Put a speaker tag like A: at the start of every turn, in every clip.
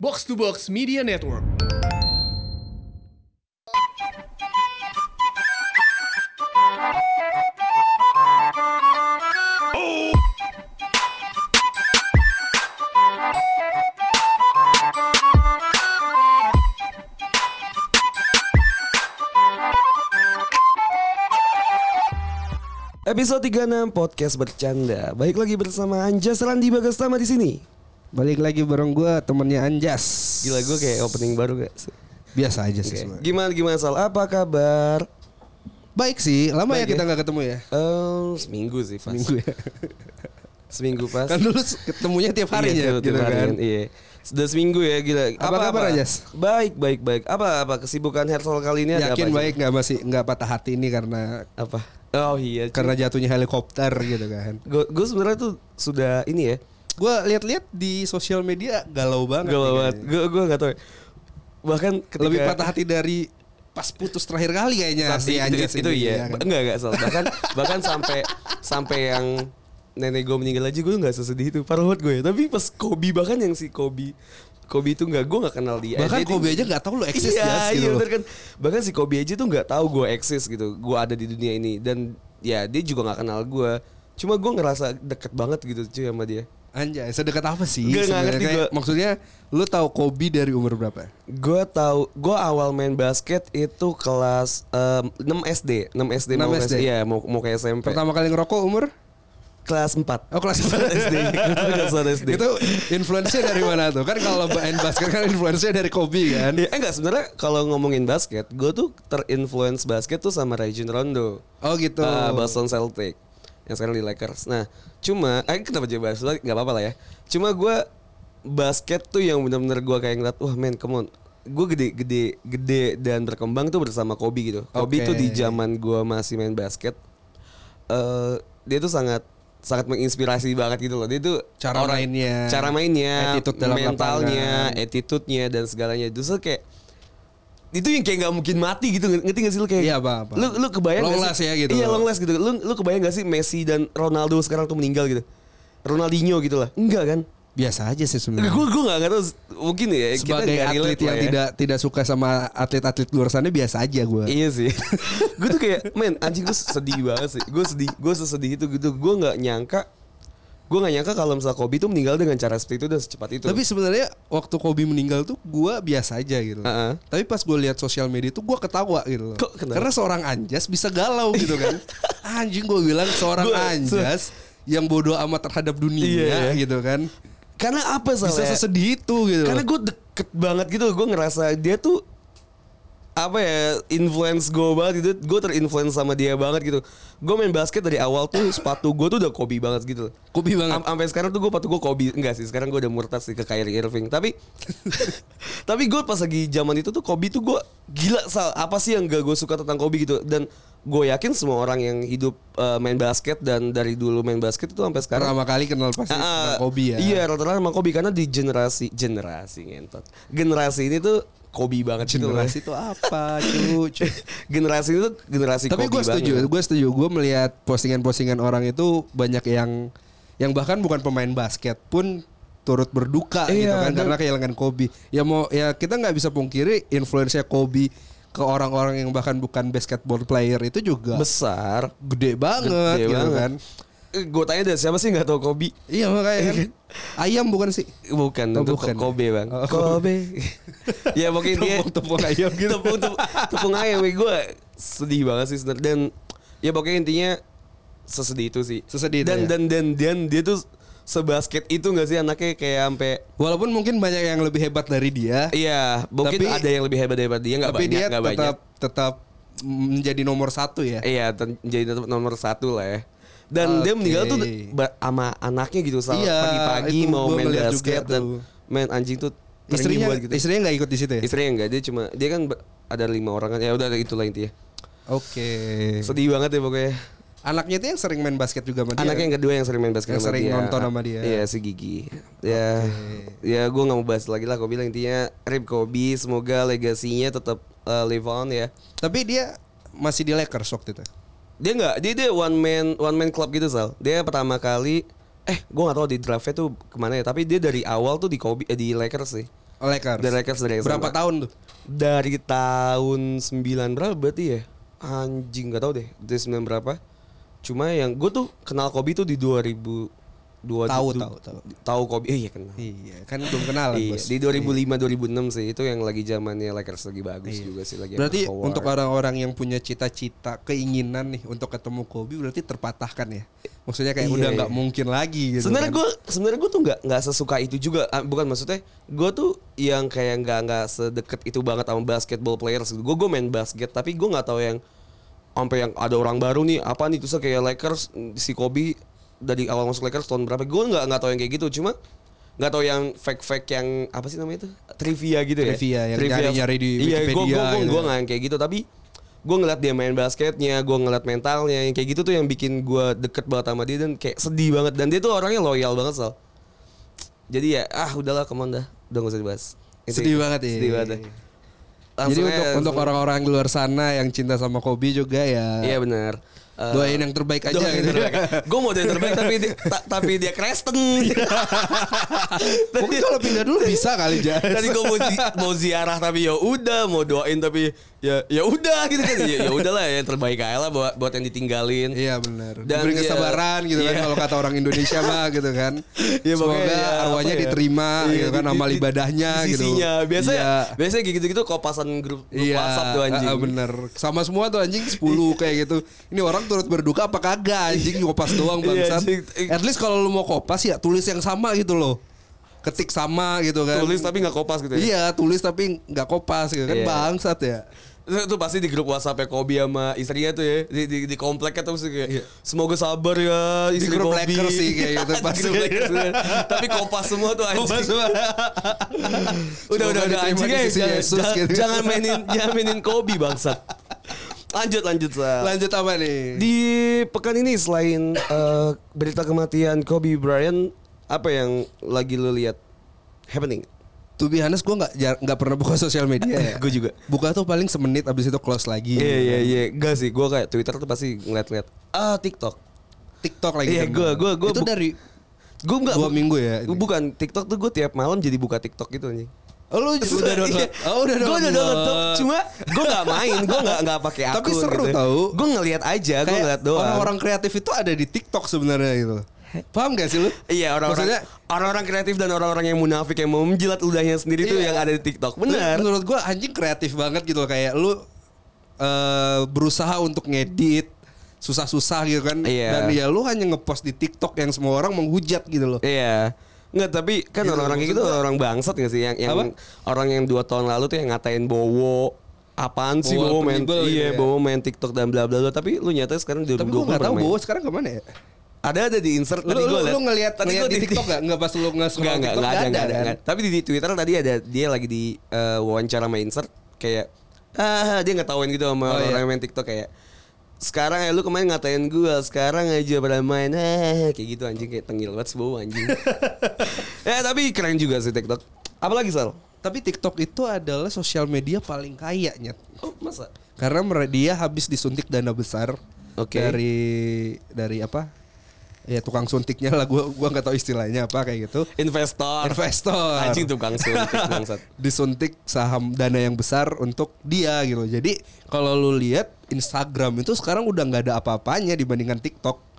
A: Box to Box Media Network.
B: Episode 36 Podcast Bercanda. Baik lagi bersama Anjas Randi Bagastama di sini.
C: Balik lagi bareng gue temennya Anjas
B: Gila gue kayak opening baru gak? sih?
C: Biasa aja sih
B: Oke.
C: sebenarnya.
B: Gimana gimana Sal? Apa kabar?
C: Baik sih, lama
B: Baik
C: ya kita
B: ya.
C: nggak ketemu ya
B: Eh, seminggu sih pas.
C: Minggu ya
B: Seminggu pas.
C: Kan dulu s- ketemunya tiap ya, gitu
B: Iya,
C: harinya
B: tiap- tiap
C: kan.
B: harian, Iya. Sudah seminggu ya gila.
C: Apa kabar, Anjas?
B: Baik, baik, baik. Apa apa kesibukan Hersal kali ini ada apa?
C: Yakin
B: aja?
C: baik nggak masih nggak patah hati ini karena
B: Apa? Oh iya.
C: karena jatuhnya helikopter gitu kan
B: gue gue sebenarnya tuh sudah ini ya.
C: Gue lihat-lihat di sosial media galau banget nih
B: Gue banget.
C: kayaknya.
B: Gue gue nggak tahu. Bahkan ketika
C: Lebih patah hati dari pas putus terakhir kali kayaknya
B: Pasti
C: si
B: itu,
C: Anjas
B: itu, itu
C: ini,
B: iya.
C: ya kan?
B: Ba- Enggak enggak Sal. Bahkan bahkan sampai sampai yang nenek gue meninggal aja gue nggak sesedih itu. Parah banget gue. ya. Tapi pas Kobe bahkan yang si Kobe Kobe itu nggak gue nggak kenal dia.
C: Bahkan
B: ya. Jadi-
C: Kobe aja nggak tahu lo eksis
B: iya,
C: Jas,
B: iya,
C: gitu loh.
B: bener kan. Bahkan si Kobe aja tuh nggak tahu gue eksis gitu. Gue ada di dunia ini dan ya dia juga nggak kenal gue. Cuma gue ngerasa deket banget gitu cuy sama dia.
C: Anjay, sedekat apa sih?
B: Nggak, nggak
C: sebenarnya?
B: ngerti
C: Kayak-
B: gua.
C: Maksudnya lu tahu Kobe dari umur berapa?
B: Gue tahu, gue awal main basket itu kelas eh, em, 6 SD, 6 SD mau
C: 6
B: ke
C: SD.
B: iya mau mau ke SMP.
C: Pertama kali ngerokok umur?
B: kelas 4.
C: Oh kelas
B: SD. Kelas satu SD.
C: Itu influence dari mana tuh? Kan kalau main basket kan influence dari Kobe kan.
B: Ya, eh enggak sebenarnya kalau ngomongin basket, gue tuh terinfluence basket tuh sama Rajon Rondo.
C: Oh gitu.
B: Ah, Boston Celtic yang sekarang di Lakers. Nah, cuma eh kenapa jadi bahas lagi? Gak apa-apa lah ya. Cuma gue basket tuh yang benar-benar gue kayak ngeliat, wah men, come on. Gue gede, gede, gede dan berkembang tuh bersama Kobe gitu. Kobe
C: Oke.
B: tuh di zaman gue masih main basket, eh dia tuh sangat sangat menginspirasi banget gitu loh. Dia tuh
C: Cara mainnya.
B: cara mainnya,
C: Iya. Attitude dalam
B: mentalnya, attitude-nya dan segalanya. Justru kayak itu yang kayak nggak mungkin mati gitu ngerti nggak sih lu kayak
C: Iya, paham, paham.
B: lu lu kebayang
C: Long
B: nggak
C: last ya gitu.
B: iya long last gitu lu lu kebayang gak sih Messi dan Ronaldo sekarang tuh meninggal gitu Ronaldinho gitu lah enggak kan
C: Biasa aja sih
B: gue
C: sebenarnya.
B: gue nggak nggak tahu mungkin ya kita
C: Sebagai
B: nggak
C: atlet
B: relate
C: yang
B: lah ya.
C: tidak tidak suka sama atlet-atlet luar sana biasa aja gue.
B: Iya sih. gue tuh kayak men anjing gue sedih banget sih. Gue sedih, gue sesedih itu gitu. Gue nggak nyangka gue nggak nyangka kalau misalnya Kobe tuh meninggal dengan cara seperti itu dan secepat itu.
C: Tapi sebenarnya waktu Kobe meninggal tuh gue biasa aja gitu.
B: Heeh.
C: Tapi pas gue lihat sosial media tuh gue ketawa gitu. loh.
B: Kok kenapa?
C: Karena seorang anjas bisa galau gitu kan. Anjing gue bilang seorang
B: Gua-
C: anjas yang bodoh amat terhadap dunia
B: Iya, iya.
C: gitu kan.
B: karena apa
C: Bisa
B: soalnya?
C: sesedih itu gitu.
B: Karena gue deket banget gitu Gue ngerasa dia tuh Apa ya Influence gue banget gitu Gue terinfluence sama dia banget gitu Gue main basket dari awal tuh Sepatu gue tuh udah Kobe banget gitu
C: Kobe banget.
B: Am- Sampai sekarang tuh gue sepatu gue Kobe Enggak sih sekarang gue udah murtad sih ke Kyrie Irving Tapi Tapi gue pas lagi zaman itu tuh Kobe tuh gue Gila Sal Apa sih yang gak gue suka tentang Kobe gitu Dan gue yakin semua orang yang hidup eh, main basket Dan dari dulu main basket itu sampai sekarang
C: pertama kali kenal pasti
B: Ah,
C: tentang Kobe ya.
B: Iya, rata-rata sama Kobe karena di generasi generasi ngentot. Generasi ini tuh Kobe banget gitu loh.
C: Generasi itu apa, cuy?
B: generasi ini tuh generasi
C: Tapi
B: Kobe
C: gue setuju,
B: banget.
C: gue setuju. Gue melihat postingan-postingan orang itu banyak yang yang bahkan bukan pemain basket pun turut berduka gitu
B: Iya,
C: kan
B: dan-
C: karena kehilangan Kobe. Ya mau ya kita nggak bisa pungkiri influence Kobe ke orang-orang yang bahkan bukan basketball player itu juga
B: besar.
C: gede banget
B: Gede
C: gitu
B: banget.
C: kan.
B: Gue tanya deh siapa sih nggak tahu Kobe?
C: Iya makanya kan. Ayam bukan sih?
B: Bukan,
C: Oh,
B: untuk
C: bukan.
B: Kobe bang.
C: Oh.
B: Kobe. ya mungkin dia
C: Tepung-tepung ayam gitu.
B: tepung, tepung, tepung ayam. Gue sedih banget sih sebenarnya. Dan ya pokoknya intinya sesedih itu sih.
C: Sesedih itu,
B: dan,
C: ya.
B: dan dan dan dia tuh sebasket itu nggak sih anaknya kayak sampai
C: Walaupun mungkin banyak yang lebih hebat dari dia,
B: Iya, mungkin
C: Tapi-
B: ada yang lebih hebat daripada dia nggak
C: tapi
B: banyak,
C: dia
B: nggak
C: tetap
B: banyak.
C: tetap menjadi nomor satu ya.
B: Iya, ten- jadi tetap nomor satu lah ya. Dan dia
C: Oke.
B: meninggal tuh ba- sama anaknya gitu, sama
C: Iya,
B: pagi-pagi
C: itu
B: mau
C: gua
B: main
C: ngeliat juga
B: basket dan
C: tuh.
B: main anjing tuh
C: Istrinya
B: ternyubat gitu.
C: istrinya nggak ikut di situ ya.
B: Istrinya enggak, dia cuma dia kan ber- ada lima orang kan. Ya udah itulah intinya.
C: Oke. Iya.
B: Sedih banget ya pokoknya.
C: Anaknya itu yang sering main basket juga sama Oh, dia.
B: Anaknya yang kedua yang sering main basket
C: Yang
B: sama
C: sering
B: dia.
C: nonton sama dia.
B: Iya, si Gigi. Ya. Ya, gua nggak mau bahas lagi lah. Kobe bilang intinya Rip Kobe, semoga legasinya tetap uh, live on ya.
C: Tapi dia masih di Lakers waktu itu.
B: dia nggak dia dia one man one man club gitu sal dia pertama kali eh gue nggak tahu di draftnya tuh kemana ya tapi dia dari awal tuh di Kobe eh, di Lakers sih
C: Lakers.
B: The Lakers dari yang
C: Berapa
B: sama.
C: tahun tuh?
B: Dari tahun 9 berapa berarti ya? Anjing gak tahu deh. Dari 9 berapa? Cuma yang gue tuh kenal Kobe tuh di 2000 dua
C: Tahu,
B: du-
C: tahu, tahu.
B: Tahu Kobe. Eh, iya kenal.
C: Iya, kan belum kenalan,
B: Iya,
C: Bos.
B: di 2005 2006 sih itu yang lagi zamannya Lakers lagi bagus juga sih lagi
C: Iya. Berarti
B: sama Howard.
C: untuk orang-orang yang punya cita-cita, keinginan nih untuk ketemu Kobe berarti terpatahkan ya. Maksudnya kayak
B: Iya,
C: udah
B: iya.
C: nggak mungkin lagi gitu.
B: Sebenarnya
C: kan.
B: gue sebenarnya gue tuh nggak nggak sesuka itu juga. Ah, bukan maksudnya gue tuh yang kayak nggak nggak sedekat itu banget sama basketball players. Gue gue main basket tapi gue nggak tahu yang sampai yang ada orang baru nih apa nih terus kayak Lakers si Kobe dari awal masuk Lakers tahun berapa? Gue nggak nggak tahu yang kayak gitu. Cuma nggak tahu yang fake-fake yang apa sih namanya itu trivia gitu ya
C: Trivia, yang nyari-nyari di
B: iya gue gue
C: Wikipedia gitu
B: gue
C: ya.
B: nggak yang kayak gitu tapi gue ngeliat dia main basketnya gue ngeliat mentalnya yang kayak gitu tuh yang bikin gue deket banget sama dia dan kayak sedih banget dan dia tuh orangnya loyal banget soal jadi ya ah udahlah kemon dah udah gak usah dibahas Itu-
C: Sedih banget, iya.
B: sedih banget dah. Langsung
C: Jadi untuk
B: aja,
C: untuk orang-orang di luar sana yang cinta sama Kobe juga ya.
B: iya benar Eh,
C: Doain yang terbaik aja
B: doain yang
C: gitu.
B: terbaik. Gue mau doain terbaik tapi dia, ta- tapi dia Kristen. Tadi-
C: Mungkin kalau pindah dulu bisa kali ja.
B: Tadi gue mau, zi- mau ziarah tapi ya udah, mau doain tapi ya ya udah gitu kan. Ya ya udahlah yang terbaik aja lah buat buat yang ditinggalin.
C: Iya benar.
B: Dan
C: Diberi
B: ya-
C: kesabaran gitu
B: iya.
C: kan kalau kata orang Indonesia mah gitu kan.
B: Ya,
C: Semoga
B: makanya ya,
C: arwahnya
B: apa ya?
C: diterima
B: Iya,
C: gitu kan
B: di-
C: amal
B: di-
C: ibadahnya
B: di
C: gitu.
B: sisinya. Biasanya
C: Iya.
B: biasanya kayak gitu-gitu kopasan grup, grup
C: Iya,
B: WhatsApp tuh anjing. Iya.
C: ah, bener. Sama semua tuh anjing 10 kayak gitu. Ini orang turut berduka apa kagak anjing kopas doang
B: Iya,
C: bangsat.
B: anjing.
C: At least kalau lu mau kopas ya tulis yang sama gitu loh. Ketik sama gitu kan.
B: Tulis tapi nggak kopas gitu ya.
C: Iya, tulis tapi nggak kopas gitu kan
B: Iya.
C: bangsat ya.
B: Itu, itu pasti di grup WhatsApp Kobi sama istrinya tuh ya di di, di kompleknya tuh mesti kayak semoga sabar ya istri
C: Iya. grup
B: Kobi.
C: Lakers sih kayak gitu,
B: Di
C: pasti.
B: grup Lakers. Tapi kopas semua tuh anjing.
C: Kopas semua.
B: udah
C: Semoga
B: udah udah
C: diterima
B: anjing
C: di
B: ya,
C: sisi
B: jangan,
C: Yesus
B: jangan-
C: gitu.
B: jangan mainin jangan mainin Kobi bangsat. Lanjut lanjut lah.
C: Lanjut apa nih?
B: Di pekan ini selain eh, berita kematian Kobe Bryant, apa yang lagi lu lihat happening?
C: to be honest gue nggak jar- nggak pernah buka sosial media ya.
B: Iya, Gua juga.
C: buka tuh paling semenit abis itu close lagi
B: Iya iya iya, gak sih. Gue kayak Twitter tuh pasti ngeliat-ngeliat. Ah TikTok.
C: TikTok lagi
B: Iya,
C: demen.
B: gua- gua- gua
C: itu
B: bu-
C: dari
B: Gue nggak
C: Dua minggu ya ini.
B: Bukan TikTok tuh gue tiap malam jadi buka TikTok gitu anjing.
C: oh, lu juga udah
B: Gue
C: download oh udah download,
B: iya. udah download tuh, cuma gue nggak main, gue nggak nggak pakai akun.
C: Tapi seru tau.
B: Gue ngeliat aja, gue
C: Kayak
B: ngeliat doang.
C: orang-orang kreatif itu ada di TikTok sebenarnya gitu paham gak sih lu
B: Iya orang-orang
C: Maksudnya-
B: orang-orang kreatif dan orang-orang yang munafik yang mau menjilat ludahnya sendiri tuh
C: Iya.
B: yang ada di TikTok. Benar.
C: menurut gue anjing kreatif banget gitu loh kayak lu eh, berusaha untuk ngedit susah-susah gitu kan
B: Iya.
C: dan ya lu hanya ngepost di TikTok yang semua orang menghujat gitu loh
B: Iya. Nggak, tapi kan
C: Gitu,
B: orang-orang kayak gitu
C: maksud gua-
B: orang bangsat gak sih yang yang
C: Apa?
B: orang yang dua tahun lalu tuh yang ngatain Bowo apaan sih Bowo
C: Bowo
B: main
C: penibel gitu
B: iya
C: ya.
B: Bowo main TikTok dan bla bla bla tapi lu nyatanya sekarang di
C: tapi gue
B: 2020
C: gak tahu
B: pernah main.
C: bawa sekarang kemana ya
B: ada ada di insert
C: lu,
B: tadi
C: lu,
B: gua
C: lu ngelihat
B: tadi
C: ngelihat
B: gua
C: di TikTok gak? Nggak pas lu nge-scroll
B: Enggak, enggak, enggak ada,
C: TikTok
B: enggak ada,
C: kan?
B: enggak ada. Tapi di, di Twitter tadi ada dia lagi di eh, wawancara sama insert kayak ah dia ngetawain gitu sama
C: Oh,
B: orang
C: iya.
B: yang main TikTok kayak sekarang ya lu kemarin ngatain gua sekarang aja pada main ah, kayak gitu anjing kayak tengil banget bau anjing ya tapi keren juga sih TikTok apalagi Sal
C: Tapi TikTok itu adalah sosial media paling kaya Nyet.
B: oh masa
C: Karena mere- dia habis disuntik dana besar
B: Oke.
C: dari dari apa? Ya tukang suntiknya lah gua gua nggak tahu istilahnya apa kayak gitu.
B: investor
C: Investor.
B: anjing tukang suntik bangsat
C: disuntik saham dana yang besar untuk dia gitu. Jadi kalau lu lihat Instagram itu sekarang udah nggak ada apa-apanya dibandingkan TikTok.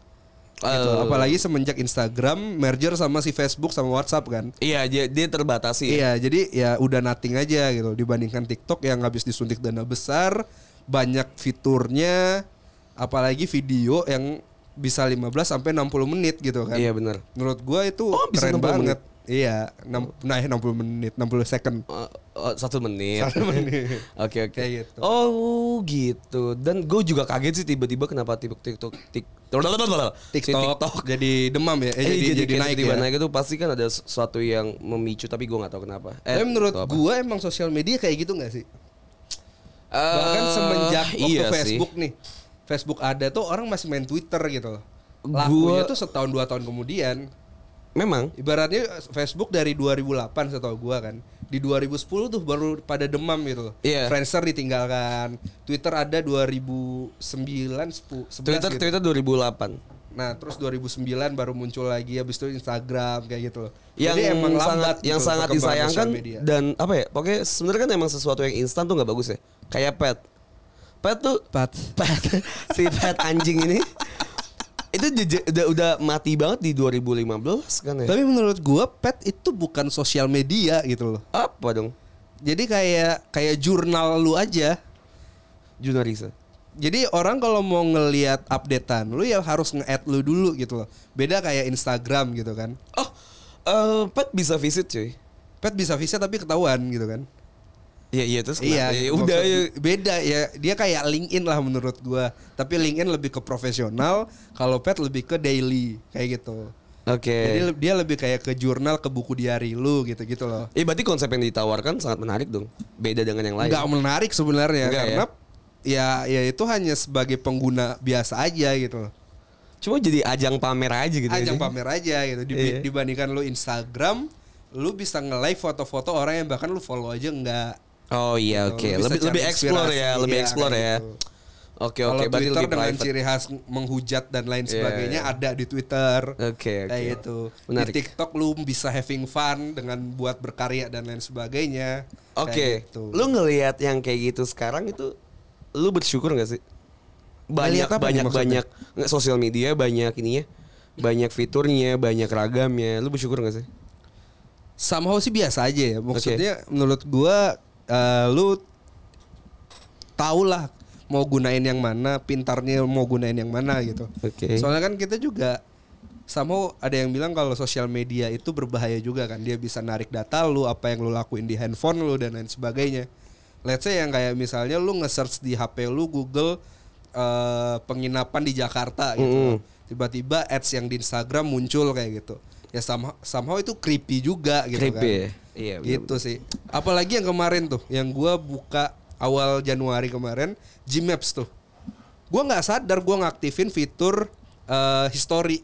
C: Gitu.
B: Eh.
C: Apalagi semenjak Instagram merger sama si Facebook sama WhatsApp kan.
B: iya dia, dia terbatasi ya.
C: Iya, jadi ya udah nothing aja gitu dibandingkan TikTok yang habis disuntik dana besar, banyak fiturnya, apalagi video yang bisa 15 sampai 60 menit gitu kan.
B: Iya, benar.
C: Menurut gua itu
B: Oh, bisa 60
C: keren banget. Iya, enam- nah eh, 60 menit, 60 second.
B: Oh, oh, satu menit.
C: Satu menit.
B: Oke oke.
C: Kayak gitu.
B: Oh gitu. Dan gue juga kaget sih tiba-tiba kenapa TikTok TikTok TikTok si
C: TikTok, jadi demam ya, eh,
B: Eh,
C: jadi, jadi, naik ya.
B: naik itu pasti kan ada sesuatu yang memicu tapi gue nggak tahu kenapa.
C: Tapi menurut
B: atau Eh, apa.
C: gua emang sosial media kayak gitu nggak sih?
B: Eh,
C: Bahkan semenjak waktu
B: iya sih.
C: Facebook nih Facebook ada tuh orang masih main Twitter gitu loh
B: Gua-
C: Lakunya tuh setahun dua tahun kemudian
B: Memang.
C: Ibaratnya Facebook dari 2008 setahu gua kan Di 2010 tuh baru pada demam gitu loh
B: Iya.
C: Friendster ditinggalkan Twitter ada 2009 10, 11
B: Twitter
C: gitu.
B: Twitter 2008.
C: Nah, terus 2009 baru muncul lagi habis itu Instagram kayak gitu loh.
B: yang
C: Jadi emang
B: sangat
C: lambat
B: yang
C: gitu
B: sangat
C: perkembangan
B: disayangkan
C: sosial media.
B: dan apa ya pokoknya sebenarnya kan emang sesuatu yang instan tuh nggak bagus ya kayak pet pet tuh
C: Pat.
B: pet si pet anjing ini itu jeje- udah, udah mati banget di 2015 kan ya
C: Tapi menurut gua pet itu bukan sosial media gitu loh.
B: apa dong
C: Jadi kayak kayak jurnal lu aja.
B: Junarisa
C: Jadi orang kalau mau ngelihat updatean lu ya harus nge-add lu dulu gitu loh. Beda kayak Instagram gitu kan.
B: oh eh, pet bisa visit cuy
C: Pet bisa visa tapi ketahuan gitu kan.
B: Iya iya terus kenapa? Ya,
C: Iya, maksud-
B: udah ya.
C: beda ya. Dia kayak LinkedIn lah menurut gua. Tapi LinkedIn lebih ke profesional, kalau Pet lebih ke daily kayak gitu.
B: Oke.
C: Jadi le- dia lebih kayak ke jurnal, ke buku diari lu gitu-gitu loh.
B: Eh berarti konsep yang ditawarkan sangat menarik dong. Beda dengan yang lain.
C: Enggak menarik sebenarnya
B: Nggak
C: karena ya. ya itu hanya sebagai pengguna biasa aja gitu loh.
B: Cuma jadi ajang pamer aja gitu.
C: Ajang
B: ya.
C: pamer aja gitu Dibi-
B: Iya.
C: dibandingkan lu Instagram, lu bisa nge-like foto-foto orang yang bahkan lu follow aja enggak.
B: Oh iya
C: Gitu,
B: oke.
C: lu bisa
B: Lebih
C: cari
B: lebih explore
C: inspirasi,
B: ya, lebih
C: iya,
B: explore
C: kayak
B: ya.
C: gitu.
B: Oke Ya,
C: Kalau
B: oke. Berarti
C: Twitter
B: lebih
C: dengan
B: private.
C: ciri khas menghujat dan lain
B: Iya,
C: sebagainya
B: iya.
C: ada di Twitter.
B: Oke, oke.
C: Kayak gitu.
B: Menarik.
C: Di TikTok lu bisa having fun dengan buat berkarya dan lain sebagainya. Kayak
B: Oke.
C: gitu.
B: Lu ngelihat yang kayak gitu sekarang itu, lu bersyukur gak sih? Banyak
C: Ngelihat apa
B: banyak
C: nih maksudnya?
B: banyak nggak, sosial media banyak ininya, banyak fiturnya, banyak ragamnya. Lu bersyukur gak sih?
C: somehow sih biasa aja ya. Maksudnya menurut gua eh, lu tau lah mau gunain yang mana, pintarnya mau gunain yang mana gitu.
B: Oke.
C: Soalnya kan kita juga somehow ada yang bilang kalau sosial media itu berbahaya juga kan. Dia bisa narik data lu, apa yang lu lakuin di handphone lu dan lain sebagainya. Let's say yang kayak misalnya lu nge-search di HP lu Google eh, penginapan di Jakarta gitu.
B: Mm-hmm.
C: Tiba-tiba ads yang di Instagram muncul kayak gitu. Ya somehow, somehow itu creepy juga gitu
B: Creepy
C: kan.
B: ya? Iya, benar.
C: Gitu sih. Apalagi yang kemarin tuh, yang gua buka awal Januari kemarin, Gmaps tuh. Gua nggak sadar gua ngaktifin fitur eh, history.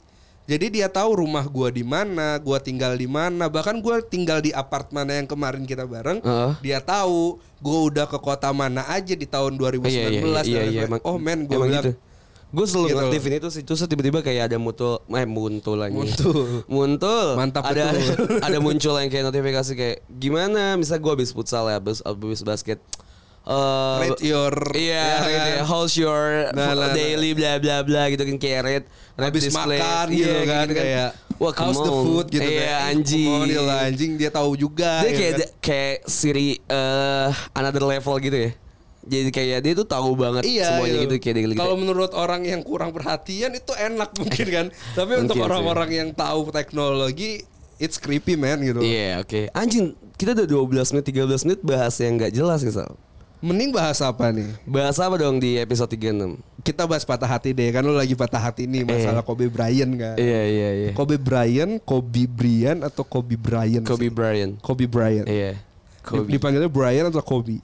C: Jadi dia tahu rumah gua di mana, gua tinggal di mana, bahkan gua tinggal di apartemen yang kemarin kita bareng.
B: Heeh.
C: Dia tahu gua udah ke kota mana aja di
B: Iya,
C: tahun 2019. dan lain-lain. Oh men, gua bilang
B: Gue gitu. selalu
C: Gitu loh.
B: ngaktifin itu sih Terus tiba-tiba kayak ada muncul Eh muncul lagi
C: Muncul.
B: Muncul
C: Mantap
B: ada,
C: betul.
B: ada muncul yang kayak notifikasi kayak Gimana misalnya gue habis futsal ya Habis, habis basket Eh,
C: rate your
B: Iya,
C: ya
B: rate
C: kan?
B: ya. how's your
C: Nah, nah,
B: daily bla bla bla gitu kan kayak rate, rate
C: habis
B: display.
C: makan
B: Iya,
C: gitu
B: kayak
C: kan kayak
B: Wah, come
C: how's the
B: on.
C: food
B: Iya,
C: gitu kayak, "Ih,
B: anjing.
C: come on, gila, "Ya anjing dia tahu juga
B: Dia
C: gitu
B: kayak
C: kan.
B: kayak Siri eh another level gitu ya. Jadi kayak dia tuh tahu banget
C: Iya
B: semuanya gitu, kayak dia-
C: Kalau menurut orang yang kurang perhatian itu enak mungkin kan. Tapi
B: Mungkin
C: untuk
B: sih.
C: orang-orang yang tahu teknologi it's creepy man gitu.
B: Iya, oke. Anjing, kita udah 12 menit, 13 menit bahas yang nggak jelas nih, Sal.
C: Mending bahas apa nih?
B: Bahas apa dong di episode 36?
C: Kita bahas patah hati deh kan lu lagi patah
B: Eh.
C: hati nih masalah Kobe Bryant kan.
B: Iya, iya, iya.
C: Kobe Bryant, Kobe Bryant atau Kobe Bryant?
B: Kobe
C: sih?
B: Bryant.
C: Kobe Bryant.
B: Iya. Kobe.
C: Kobe. Dipanggilnya Bryant atau Kobe?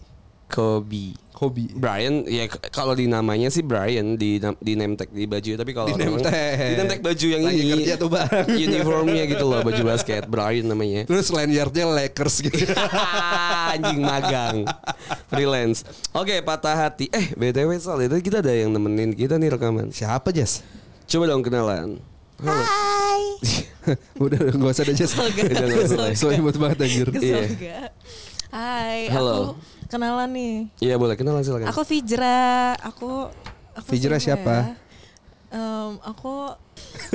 B: Kobe.
C: Kobe.
B: Brian ya k- kalau di namanya sih Brian di nam- di name tag di baju tapi kalau
C: Di
B: orang-
C: name tag.
B: di name tag baju yang
C: Lagi
B: ini
C: kerja tuh bareng.
B: uniformnya gitu loh baju basket Brian namanya
C: Terus lanyardnya Lakers gitu.
B: Iya. anjing magang freelance oke patah hati eh btw Sal itu kita ada yang nemenin kita nih rekaman
C: Siapa Jess?
B: coba dong kenalan halo
C: udah udah, nggak usah ada Jess.
D: Kesel gak?
B: Udah, nggak usel ya.
C: Soalnya imut banget anjir.
D: Kesel
B: Iya.
D: gak? Hai,
B: Halo.
D: aku kenalan nih.
B: iya boleh kenalan silakan
D: Aku Fijra, aku, aku
C: Fijra siapa?
D: ya? Em, aku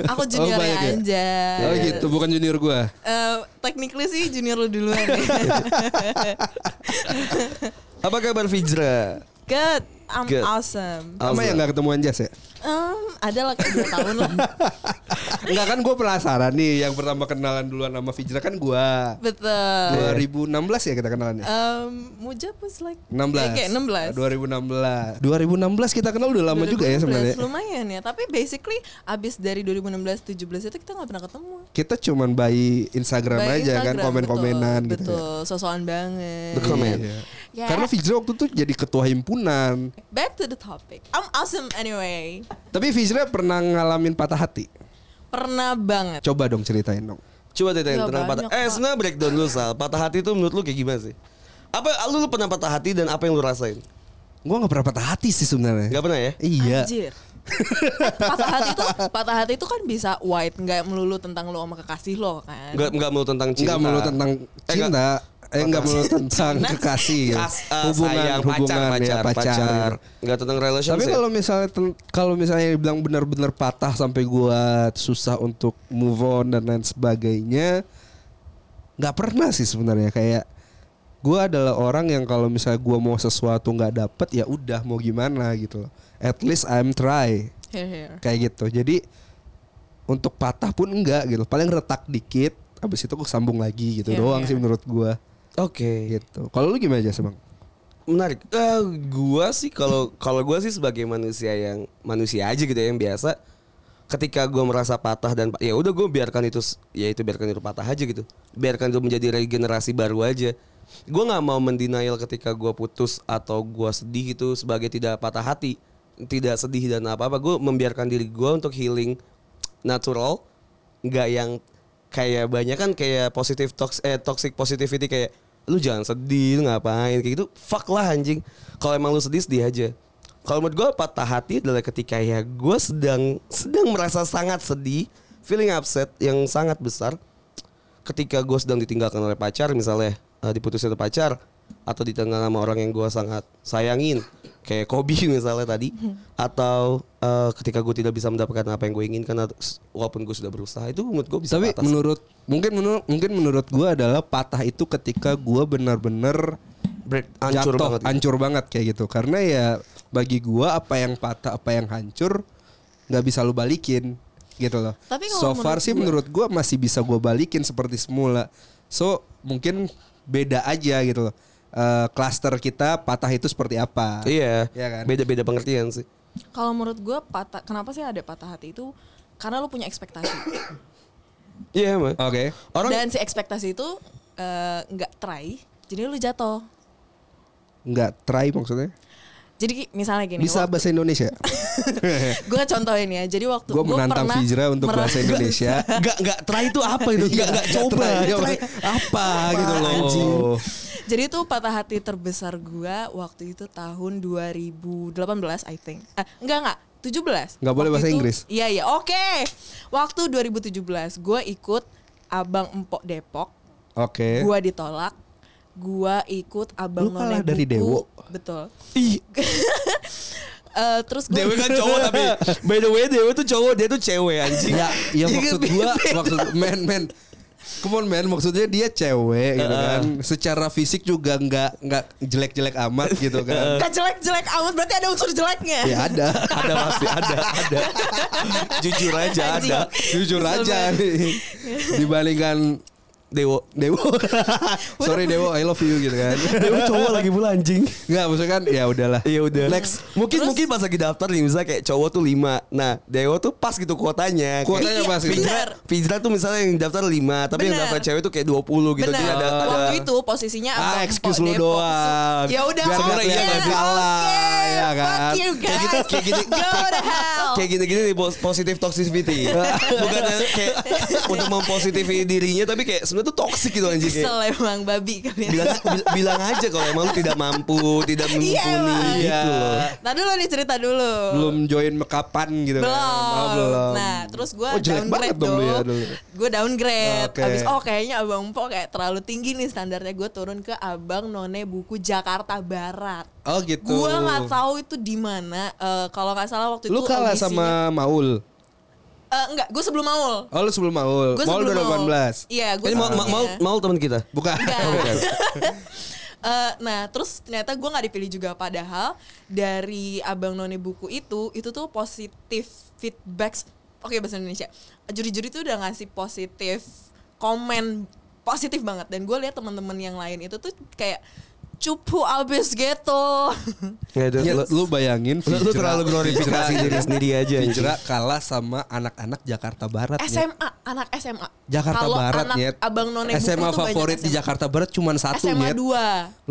D: aku junior
C: banyak ya?
D: aja.
C: Oh gitu, bukan junior gua.
D: Eh, technically sih junior lu duluan. ya.
B: apa kabar Fijra
D: Good, I'm
B: Good.
D: awesome.
C: Sama yang ya nggak ketemuan Jas ya?
D: Em, ada lah kayak dua tahun lah.
C: Enggak kan gue penasaran nih yang pertama kenalan duluan sama Fijra kan gua.
D: Betul.
C: 2016 ya Ah, kita kenalannya.
D: Em, Mujab was like
C: 16.
D: Eh, Kayak
C: 2016.
D: 16.
C: 2016 kita kenal udah lama juga ya
D: 2016,
C: sebenarnya.
D: Lumayan ya, tapi basically abis dari 2016 17 itu kita nggak pernah ketemu.
C: Kita cuman by Instagram aja
D: By
C: kan
D: Instagram,
C: komen-komenan gitu.
D: betul,
C: ya.
D: Betul, sosokan banget.
B: The comment.
C: Iya.
D: Ya.
C: Karena Fijra waktu itu jadi ketua himpunan.
D: Back to the topic. I'm awesome anyway.
C: Tapi Fijra pernah ngalamin patah hati.
D: Pernah banget.
C: Coba dong ceritain dong.
B: Coba ceritain
D: Ya,
B: tentang patah.
D: banyak,
B: Eh,
D: Pak.
B: sebenarnya breakdown lu Sal. Patah hati itu menurut lu kayak gimana sih? Apa lu, lu pernah patah hati dan apa yang lu rasain?
C: Gua nggak pernah patah hati sih sebenarnya.
B: Gak pernah ya?
C: Iya.
D: Anjir. patah hati itu patah hati itu kan bisa wide nggak melulu tentang lo sama kekasih lo kan
B: Enggak enggak mau tentang cinta.
C: Enggak melulu tentang
B: Eh, nggak-
C: cinta, eh enggak melulu tentang
D: Cinta.
C: kekasih, ya.
B: Kas- eh,
C: hubungan,
B: sayang,
C: hubungan
B: pacar,
C: ya,
B: pacar,
C: pacar.
B: pacar. ya? Enggak tentang relationship.
C: Tapi kalau misalnya ten- kalau misalnya bilang benar-benar patah sampai gua susah untuk move on dan lain sebagainya, nggak pernah sih sebenarnya kayak gua adalah orang yang kalau misalnya gua mau sesuatu nggak dapet ya udah mau gimana gitu. loh. At least I'm try
D: here here
C: kayak gitu. Jadi untuk patah pun enggak gitu. Paling retak dikit, abis itu gua sambung lagi gitu
D: Iya,
C: doang
D: iya.
C: sih menurut gua
B: Oke.
C: gitu. Kalau lu gimana aja bang?
B: menarik. Eh, gua sih kalau kalau gua sih sebagai manusia yang manusia aja gitu ya, yang biasa ketika gua merasa patah dan ya udah gua biarkan itu s- ya itu biarkan itu patah aja gitu. Biarkan itu menjadi regenerasi baru aja. Gua nggak mau mendenial ketika gua putus atau gua sedih gitu sebagai tidak patah hati, tidak sedih dan apa-apa. Gua membiarkan diri gua untuk healing natural, nggak yang kayak banyak kan kayak positif tox eh toxic positivity kayak lu jangan sedih lu ngapain kayak gitu fuck lah anjing kalau emang lu sedih sedih aja kalau menurut gue patah hati adalah ketika ya gue sedang sedang merasa sangat sedih feeling upset yang sangat besar ketika gue sedang ditinggalkan oleh pacar misalnya eh, diputusin oleh pacar atau ditinggal sama orang yang gue sangat sayangin kayak Kobe misalnya tadi atau eh, ketika gue tidak bisa mendapatkan apa yang gue inginkan atau- walaupun gue sudah berusaha itu menurut gue bisa
C: Tapi
B: patah.
C: menurut mungkin menurut mungkin menurut gua adalah patah itu ketika gua benar-benar
B: break hancur
C: hancur
B: banget gitu.
C: hancur banget kayak gitu. Karena ya bagi gua apa yang patah, apa yang hancur nggak bisa lu balikin gitu loh.
D: Tapi
C: so
D: kalau
C: far
D: menurut
C: sih
D: gua-
C: menurut gua masih bisa gua balikin seperti semula. So mungkin beda aja gitu loh. Eh, Cluster kita patah itu seperti apa?
B: Iya,
C: Iya kan?
B: beda-beda pengertian sih.
D: kalau menurut gue patah kenapa sih ada patah hati itu karena lo punya ekspektasi
B: Iya, mah.
C: Oke.
B: Orang
D: dan si ekspektasi itu eh, nggak try jadi lu jatuh
C: Nggak try maksudnya.
D: jadi ki- misalnya gini
C: Bisa bahasa Indonesia.
D: gue contohin ya jadi waktu
C: Gua
D: gua
C: menantang
D: pernah
C: Fijra untuk bahasa
D: merasa-
C: Indonesia.
B: nggak nggak try itu apa itu? Nggak nggak coba.
C: Try,
B: Nggak
C: apa-
B: try.
C: apa gitu loh.
B: anjing?
D: Jadi itu patah hati terbesar gua waktu itu tahun 2018 I think. Eh, enggak enggak, 17.
C: Nggak boleh
D: Waktu
C: bahasa
D: itu-
C: Inggris.
D: Iya iya, oke. Waktu 2017 gua ikut Abang Empok Depok,
C: Oke.
D: gua ditolak. Gua ikut Abang
C: Lu kalah
D: None
C: dari
D: Buku.
C: Dewo.
D: Betul.
B: Ih,
D: Eh, terus gua
B: Dewe kan cowok tapi by the way Dewe tuh cowok dia tuh cewek anjing.
C: Ya, ya
B: Iya,
C: maksud
B: beda.
C: gua maksud men men. Come on men, maksudnya dia cewek gitu kan. Secara fisik juga nggak nggak jelek-jelek amat gitu kan.
D: Nggak jelek-jelek amat berarti ada unsur jeleknya.
C: ya ada.
B: ada pasti ada ada. Jujur aja ada.
D: Anjing.
C: Jujur
D: Kesel
C: aja nih. Dibandingkan
B: Dewo
C: Dewo. Sorry Dewo, I love you gitu kan.
B: Dewo cowok lagi pula anjing.
C: Enggak, maksudnya kan ya udahlah.
B: Iya udah.
C: Next.
B: Mungkin mungkin pas lagi daftar nih misalnya kayak cowok tuh 5. Nah, Dewo tuh pas gitu kuotanya.
C: Kuotanya
B: Kayak
C: pas gitu.
B: Fijra, Fijra tuh misalnya yang daftar 5, tapi yang
D: Iya, Bener.
B: daftar cewek tuh kayak 20 gitu.
D: Benar.
B: Dia ada ada
D: Waktu itu posisinya
C: Ah,
D: Abang
C: excuse
D: Empok
C: lu
D: Depok.
C: doang.
D: Ya udah,
C: Biar
D: oke,
B: nggak kelihatan
D: oke,
C: salah, ya kan?
D: Fuck you guys.
B: Kayak gitu- kayak gitu-
D: Go to hell.
B: kayak gini-gini nih pos- positive toxicity bukan kayak untuk mempositifi dirinya tapi kayak sebenarnya tuh toxic gitu anjing kayak
D: Kesel emang babi kalian.
B: bilang bil- bilang aja kalau emang lu tidak mampu tidak mumpuni
D: Iya, emang.
B: gitu loh
D: Nah dulu nih cerita dulu.
C: Belum join mekapan gitu
D: Belum.
C: kan. Oh, belum.
D: Nah, terus gue
C: Oh, jelek banget
D: downgrade
C: dong lu
D: dulu.
C: ya dulu.
D: Gue downgrade.
C: Oke.
D: Abis oh kayaknya Abang Po kayak terlalu tinggi nih standarnya. Gue turun ke Abang None Buku Jakarta Barat.
C: Oh gitu.
D: Gue nggak tahu itu di mana. Eh, kalau nggak salah waktu
C: Lu
D: itu
C: kalah
D: audisinya-
C: sama Maul.
D: Eh, enggak, gue sebelum Maul.
C: Oh lu sebelum Maul.
D: Gue
C: Maul
D: sebelum Maul.
C: 2018.
D: Iya, gue
B: Oh, ini mau mau mau, mau teman kita
C: Bukan.
D: Enggak.
C: Oh, bukan.
D: Eh, nah terus ternyata gue nggak dipilih juga padahal dari abang noni buku itu itu tuh positif feedbacks oke bahasa Indonesia juri-juri tuh udah ngasih positif komen positif banget dan gue lihat teman-teman yang lain itu tuh kayak cupu abis gitu
B: ya, udah,
C: Ya,
B: lu,
C: lu bayangin
B: lu- lu terlalu glorifikasi
C: Fijra-
B: diri sendiri aja anjing.
C: Fijra kalah sama anak-anak Jakarta Barat. ya. Nyet.
D: SMA anak SMA
C: Jakarta
D: Kalau
C: Barat
D: anak
C: Nyet.
D: abang noni buku
C: SMA
D: tuh banyak
C: favorit di
D: SMA.
C: Jakarta Barat cuman satu
D: SMA
C: Nyet.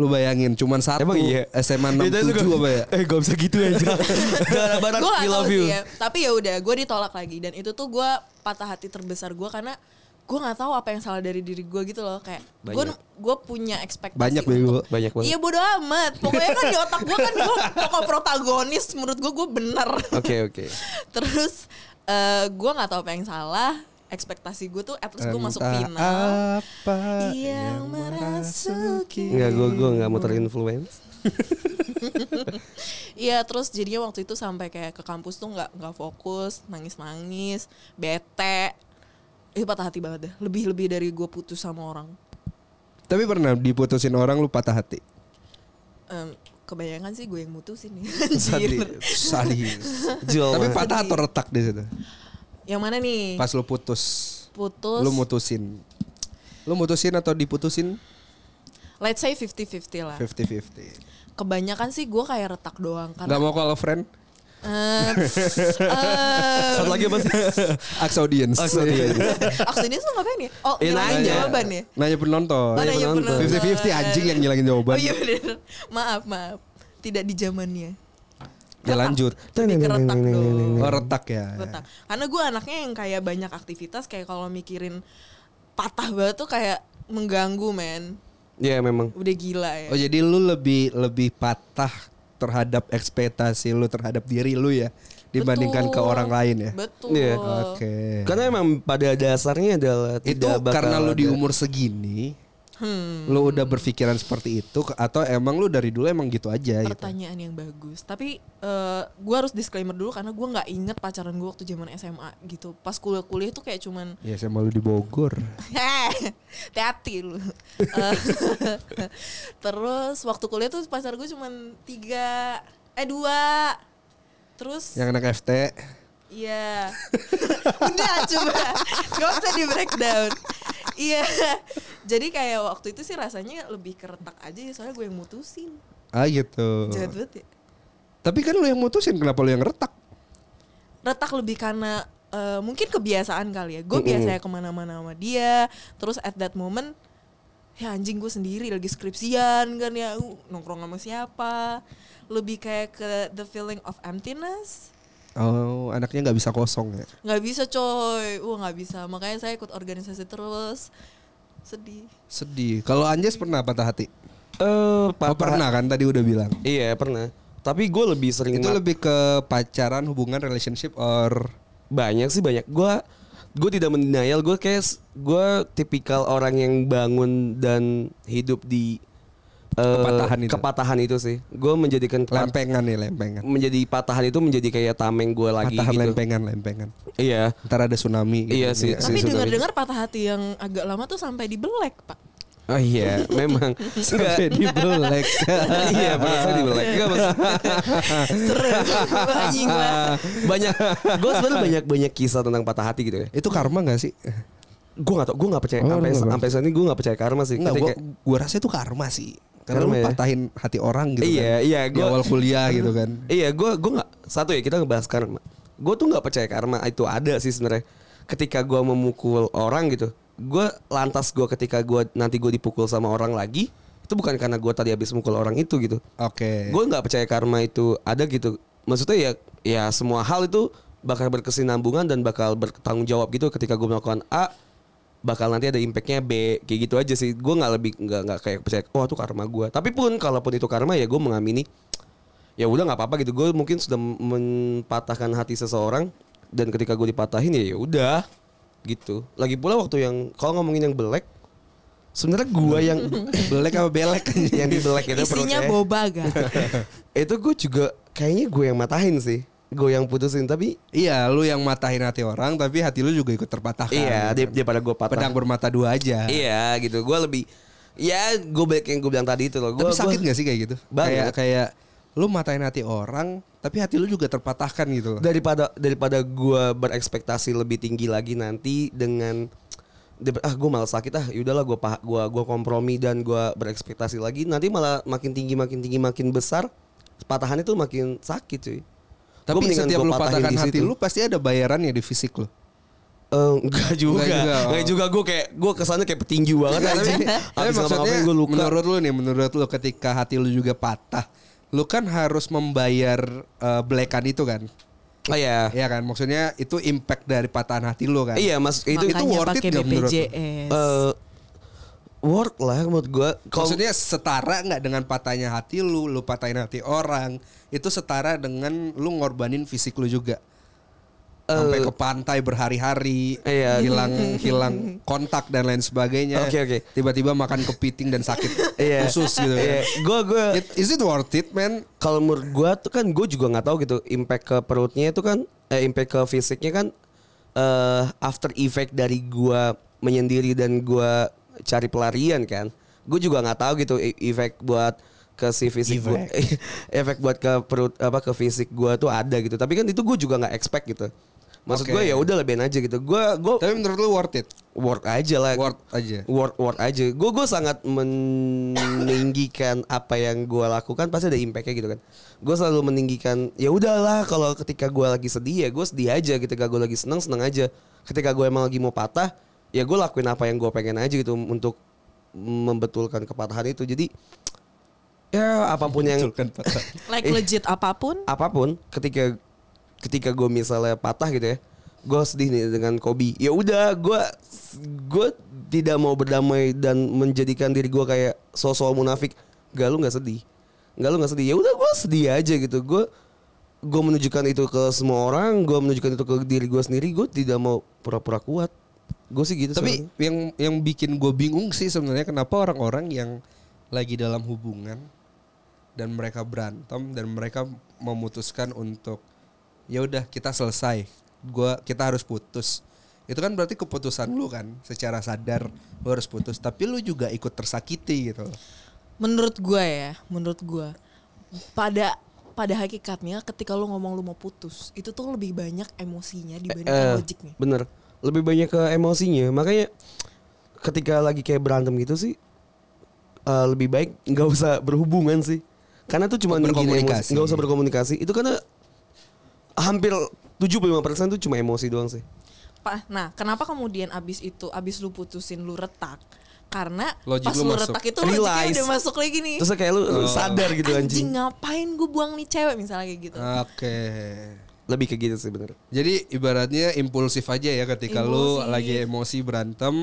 D: 2
C: Lu bayangin cuman satu.
B: Emang iya
C: SMA
B: Ya, tadi lu
C: 67
B: gak-
C: apa ya?
B: Eh gak bisa gitu ya Jakarta Jakarta Barat
D: gue
B: we
D: gak tahu
B: love you
D: ya sih ya tapi ya udah gue ditolak lagi dan itu tuh gue patah hati terbesar gue karena gue nggak tahu apa yang salah dari diri gue gitu loh kayak gue
B: Banyak.
D: gue punya ekspektasi
C: Banyak, Bego.
B: Banyak banget.
D: iya bodo amat pokoknya kan di otak gue kan gue tokoh protagonis menurut gue gue bener
B: Oke oke.
D: terus eh gue nggak tahu apa yang salah ekspektasi gue tuh at least gue masuk
C: Entah
D: final
C: Apa
D: yang merasuki
B: Enggak gue gue nggak mau terinfluence.
D: Iya terus jadinya waktu itu sampai kayak ke kampus tuh nggak nggak fokus, nangis-nangis, bete. Itu patah hati banget deh. Lebih lebih dari gue putus sama orang.
C: Tapi pernah diputusin orang lu patah hati.
D: Em, kebanyakan sih gue yang mutusin ya.
C: Sadis.
D: Anjir.
C: Sadis.
B: Jual
C: Tapi
B: mahal.
C: patah atau retak di situ.
D: Yang mana nih?
C: Pas lu putus,
D: putus.
C: lu mutusin. Lu mutusin atau diputusin
D: let's say 50-50 lah.
C: 50-50.
D: Kebanyakan sih gue kayak retak doang
C: Gak
D: karena
C: mau call a friend?
D: eh, eh,
B: Satu lagi apa sih?
C: Ask audience.
B: Oh, sorry, iya, iya.
D: Aksenis tuh ngapain ya? Oh,
B: Ya,
D: ngilangin
B: nanya.
D: jawaban ya?
C: Iya, Nanya penonton.
D: Oh, nanya
B: penonton.
D: penonton.
C: 50-50 anjing yang ngilangin jawaban.
D: Oh iya bener. Maaf, maaf. Tidak di zamannya.
C: Ya lanjut.
D: Lebih ke retak doang.
C: Oh retak ya.
D: Hmm. Retak. Karena gue anaknya yang kayak banyak aktivitas kayak kalau mikirin patah banget tuh kayak mengganggu men.
B: Iya memang.
D: Udah gila ya.
C: Oh jadi lu lebih lebih patah terhadap ekspektasi lu terhadap diri lu ya dibandingkan ke
D: Betul.
C: orang lain ya.
D: Betul.
B: Iya.
C: Oke.
B: Karena emang pada dasarnya adalah
C: Itu
B: tidak bakal
C: karena lu di
B: ada-
C: umur segini lu udah berpikiran seperti itu ke- atau emang lu dari dulu emang gitu aja gitu.
D: Pertanyaan yang bagus. Tapi eh gue harus disclaimer dulu karena gue nggak inget pacaran gue waktu zaman SMA gitu. Pas kuliah-kuliah tuh kayak cuman
C: Ya saya malu di Bogor.
D: Heh, hati-hati lu. Eh, Terus waktu kuliah tuh pacar gue cuman tiga, eh dua. Terus
C: Yang anak FT.
D: Iya. Udah coba. Gak usah di breakdown. Iya. Jadi kayak waktu itu sih rasanya lebih keretak aja ya soalnya gue yang mutusin.
C: Ah gitu.
D: Jahat banget ya.
C: Tapi kan lu yang mutusin kenapa lu yang retak?
D: Retak lebih karena eh, mungkin kebiasaan kali ya. Gue biasanya kemana-mana sama dia. Terus at that moment ya anjing gue sendiri lagi skripsian kan ya uh, nongkrong sama siapa lebih kayak ke the feeling of emptiness
C: Oh, anaknya nggak bisa kosong ya.
D: nggak bisa coy wah nggak bisa makanya saya ikut organisasi terus sedih
C: Sedih. Kalau Anjes pernah patah hati?
B: Eh,
C: Oh,
B: patah-
C: pernah kan tadi udah bilang.
B: Iya pernah. Tapi gue lebih sering
C: Itu
B: ma-
C: lebih ke pacaran, hubungan, relationship or
B: banyak sih banyak. Gue gue tidak mendenial. Gue kayak gue tipikal orang yang bangun dan hidup di eh,
C: Kepatahan itu.
B: kepatahan itu sih. Gue menjadikan kepat-
C: lempengan nih, lempengan.
B: menjadi patahan itu menjadi kayak tameng gue lagi
C: Patahan
B: gitu.
C: lempengan, lempengan.
B: Iya.
C: Ntar ada tsunami
B: Iya sih,
C: Iya.
B: sih. gitu.
D: tapi
B: tsunami.
D: dengar-dengar patah hati yang agak lama tuh sampai dibelek pak
B: Oh iya, memang. Enggak.
C: Sampai dibelek.
B: iya, biasanya dibelek. Enggak maksud-
D: seru anjing lah
B: banyak gue sebenarnya banyak banyak kisah tentang patah hati gitu ya
C: Itu karma gak sih?
B: gue gak tau gue gak percaya
C: Oh,
B: sampai
C: enggak,
B: sampai saat ini gue gak percaya karma sih
C: Enggak, gua gitu
B: Ketika-
C: gua rasa itu karma sih. Karena
B: Karma
C: lu
B: ya?
C: patahin hati orang gitu
B: Iya,
C: kan.
B: iya,
C: Di
B: gua-
C: awal kuliah gitu kan.
B: Iya, gue gue nggak satu ya kita ngebahas karma. Gue tuh nggak percaya karma itu ada sih sebenarnya. Ketika gue memukul orang gitu, gue lantas gue ketika gue nanti gue dipukul sama orang lagi, itu bukan karena gue tadi habis mukul orang itu gitu.
C: Oke.
B: Gue nggak percaya karma itu ada gitu. Maksudnya ya ya semua hal itu bakal berkesinambungan dan bakal bertanggung jawab gitu ketika gue melakukan A bakal nanti ada impactnya B kayak gitu aja sih gue nggak lebih nggak nggak kayak percaya oh itu karma gue tapi pun kalaupun itu karma ya gue mengamini ya udah nggak apa-apa gitu gue mungkin sudah mempatahkan hati seseorang dan ketika gue dipatahin ya ya udah gitu lagi pula waktu yang kalau ngomongin yang belek sebenarnya gue yang
C: Belek apa belek?
B: yang dibelek itu
D: isinya
B: perutnya ya.
D: boba gak
B: itu gue juga kayaknya gue yang matahin sih gue yang putusin tapi
C: Iya, lu yang matahin hati orang tapi hati lu juga ikut kan? terpatahkan.
B: iya dia, dia pada gue patah
C: Pedang bermata dua aja.
B: iya gitu gue lebih ya gue balik yang gue bilang tadi itu loh gue
C: Tapi sakit gak sih kayak gitu?
B: Banget.
C: Kayak kayak lu matain hati orang tapi hati lu juga terpatahkan gitu loh.
B: daripada daripada gue berekspektasi lebih tinggi lagi nanti dengan dep- ah gue malah sakit ah yaudahlah gue paha gue gua kompromi dan gue berekspektasi lagi nanti malah makin tinggi makin tinggi makin besar patahannya tuh makin sakit cuy Gua
C: Tapi
B: mendingan
C: setiap
B: gua
C: lu
B: patahin
C: patahkan
B: di
C: hati
B: situ.
C: lu pasti ada bayarannya di fisik lu.
B: Eh, enggak juga enggak
C: Enggak juga,
B: juga,
C: oh. Iya,
B: gue kayak gue kesannya kayak petinju banget
C: tapi,
B: anjing.
C: tapi
B: habis
C: maksudnya
B: gue luka
C: menurut lu nih, menurut lu ketika hati lu juga patah, lu kan harus membayar eh, belekan itu kan.
B: Oh iya.
C: Iya kan maksudnya itu impact dari patahan hati lo kan.
B: Iya, Mas, itu
C: Makanya
B: itu worth it
C: pakai
B: gak menurut lu?
D: BPJS.
B: Eh, worth lah menurut gua. Kalau
C: Maksudnya setara nggak dengan patahnya hati lu, lu patahin hati orang, itu setara dengan lu ngorbanin fisik lu juga. Sampai ke pantai berhari-hari,
B: Eh, Iya.
C: hilang hilang kontak dan lain sebagainya.
B: Oke, oke.
C: Tiba-tiba makan kepiting dan sakit
B: Iya.
C: khusus gitu.
B: Iya.
C: kan.
B: Gua gua
C: It- is it worth it, man?
B: kalau menurut gua tuh kan gue juga nggak tahu gitu impact ke perutnya itu kan eh, impact ke fisiknya kan eh after effect dari gua menyendiri dan gua cari pelarian kan gue juga nggak tahu gitu e- efek buat ke si fisik gua efek buat ke perut apa ke fisik gua tuh ada gitu tapi kan itu gue juga nggak expect gitu maksud
C: Oke.
B: gua ya udah lebihin aja gitu gua gua
C: Tapi menurut lu worth it?
B: work aja lah
C: Worth aja.
B: work work aja gue gue sangat meninggikan apa yang gue lakukan pasti ada impactnya gitu kan gue selalu meninggikan ya udahlah kalau ketika gue lagi sedih ya gue sedih aja ketika gue lagi seneng seneng aja ketika gue emang lagi mau patah ya gue lakuin apa yang gue pengen aja gitu untuk membetulkan kepatahan itu jadi ya apapun yang
C: Betulkan patah.
D: Like
B: Eh.
D: legit apapun.
B: apapun ketika ketika gue misalnya patah gitu ya gue sedih nih dengan Kobe ya udah gue gue tidak mau berdamai dan menjadikan diri gue kayak sosok munafik gak lu nggak sedih gak lu nggak sedih ya udah gue sedih aja gitu gue gue menunjukkan itu ke semua orang gue menunjukkan itu ke diri gue sendiri gue tidak mau pura-pura kuat gue sih gitu
C: Tapi
B: sebenarnya.
C: yang yang bikin gue bingung sih sebenarnya kenapa orang-orang yang lagi dalam hubungan dan mereka berantem dan mereka memutuskan untuk ya udah kita selesai, gua kita harus putus. Itu kan berarti keputusan lu kan, secara sadar lu harus putus, tapi lu juga ikut tersakiti gitu. loh.
D: Menurut gue ya, menurut gue pada pada hakikatnya ketika lo ngomong lo mau putus itu tuh lebih banyak emosinya
B: Eh,
D: dibandingkan logiknya.
B: bener lebih banyak ke emosinya makanya ketika lagi kayak berantem gitu sih eh, lebih baik nggak usah berhubungan sih karena tuh cuma nenggin
C: Berkomunikasi.
B: emosi nggak usah berkomunikasi itu karena hampir 75% tuh cuma emosi doang sih
D: Pa- nah kenapa kemudian abis itu abis lu putusin lu retak karena
C: Logik
D: pas
C: lu
D: lu
C: masuk.
D: retak itu logiknya
B: Realize.
D: udah masuk lagi nih
B: terus kayak lu sadar gitu anjing Ah.
D: ngapain gue buang nih cewek misalnya kayak gitu
C: Oke.
B: lebih ke gitu sih bener
C: Jadi ibaratnya impulsif aja ya ketika lu
D: Impulsif.
C: lagi emosi berantem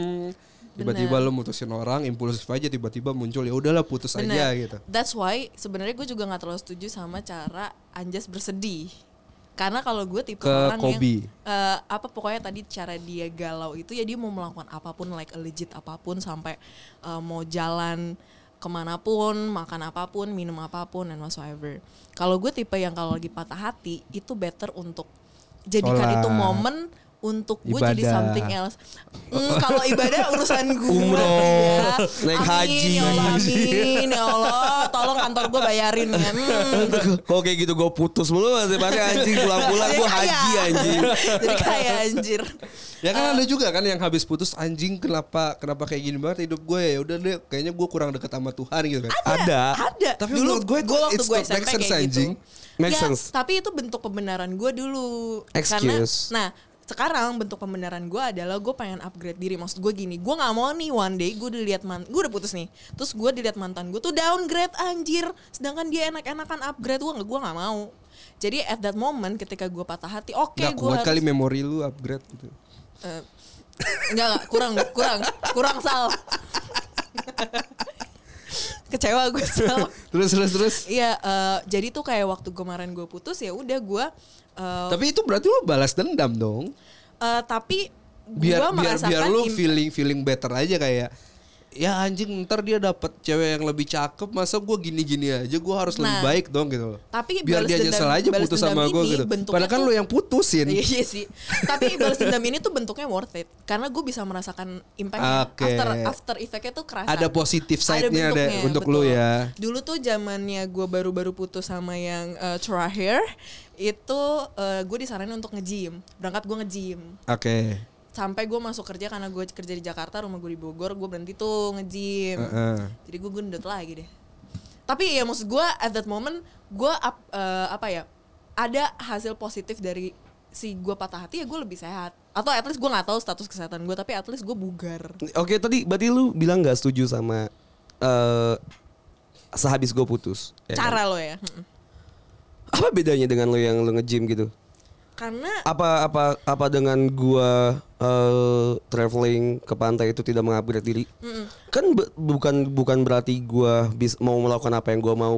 C: tiba-tiba lu mutusin orang impulsif aja tiba-tiba muncul ya udahlah putus aja
D: Bener.
C: gitu.
D: That's why sebenarnya gue juga nggak terlalu setuju sama cara Anjas bersedih. Karena kalau gue tipe
C: Ke
D: orang
C: Kobe.
D: yang eh, apa pokoknya tadi cara dia galau itu ya dia mau melakukan apapun like a legit apapun sampai eh, mau jalan kemanapun makan apapun minum apapun and whatsoever. Kalau gue tipe yang kalau lagi patah hati itu better untuk jadikan
C: Sholat.
D: itu momen untuk gue jadi
C: Ibadah.
D: something else. Mm, kalau ibadah urusan gue.
B: Umroh,
D: ya.
B: naik
D: Amin,
B: haji.
D: ya Allah,
B: Naik haji.
D: Amin ya Allah, tolong kantor gue bayarin ya. Hmm.
B: Kalau kayak gitu gue putus mulu pasti pasti anjing pulang-pulang gue
D: Jadi
B: haji
D: kaya.
B: anjing
D: Jadi kayak anjir.
C: Ya kan ada juga kan yang habis putus anjing kenapa kenapa kayak gini banget hidup gue ya udah deh kayaknya gue kurang dekat sama Tuhan gitu kan.
B: ada
D: Ada.
C: Tapi menurut gue itu-
D: gua waktu
C: it's
D: gue
C: not
D: SMP
C: make sense,
D: kayak
C: anjing.
D: gitu.
B: Make
D: Ya,
B: sense.
D: Tapi itu bentuk pembenaran gue dulu.
B: Excuse.
D: Karena, nah sekarang bentuk pembenaran gue adalah gue pengen upgrade diri maksud gue gini gue nggak mau nih one day gue dilihat man gue udah putus nih terus gue dilihat mantan gue tuh downgrade anjir sedangkan dia enak-enakan upgrade gue nggak gue nggak mau jadi at that moment ketika gue patah hati oke
C: Nggak
D: gue
C: kuat
D: harus
C: kali memori lu upgrade gitu.
D: Eh, enggak, enggak, kurang, kurang, kurang sal. Kecewa gue sal.
C: Terus terus terus.
D: Iya, eh, jadi tuh kayak waktu kemarin gue putus ya udah gue. eh,
C: Tapi itu berarti lu balas dendam dong.
D: eh, tapi
C: Biar
D: gue
C: biar
D: merasakan
C: biar lu
D: im-
C: feeling feeling better aja kayak ya anjing ntar dia dapat cewek yang lebih cakep masa gue gini-gini aja gue harus lebih
D: Nah,
C: baik dong gitu loh.
D: tapi
C: biar
D: balas
C: dia
D: dendam-
C: nyesel aja
D: balas
C: putus
D: dendam
C: sama gue
D: ini
C: gitu
D: bentuknya
C: padahal kan
D: tuh-
C: lu yang putusin
D: Iya, iya sih. Tapi balas dendam ini tuh bentuknya worth it karena gue bisa merasakan impact
C: Oke.
D: after after effect-nya tuh kerasa.
C: Ada positif side-nya ada
D: bentuknya,
C: untuk lu ya.
D: Dulu tuh zamannya gue baru-baru putus sama yang eh, terakhir itu gue disaranin untuk nge-gym. Berangkat gue nge-gym.
C: oke
D: Sampai gue masuk kerja karena gue kerja di Jakarta, rumah gue di Bogor, gue berhenti tuh nge-gym.
C: Heeh.
D: Jadi gue gendut lagi deh. Tapi ya maksud gue at that moment gue ap- eh, apa ya ada hasil positif dari si gue patah hati ya gue lebih sehat atau at least gue nggak tahu status kesehatan gue tapi at least gue bugar.
B: Oke tadi berarti lu bilang nggak setuju sama eh sehabis gue putus. ya kan?
D: Cara lo ya. Mm-mm.
B: Apa bedanya dengan lu yang lu nge-gym gitu?
D: karena
B: apa apa apa dengan gua eh, traveling ke pantai itu tidak mengupgrade diri kan be- bukan bukan berarti gua bis, mau melakukan apa yang gua mau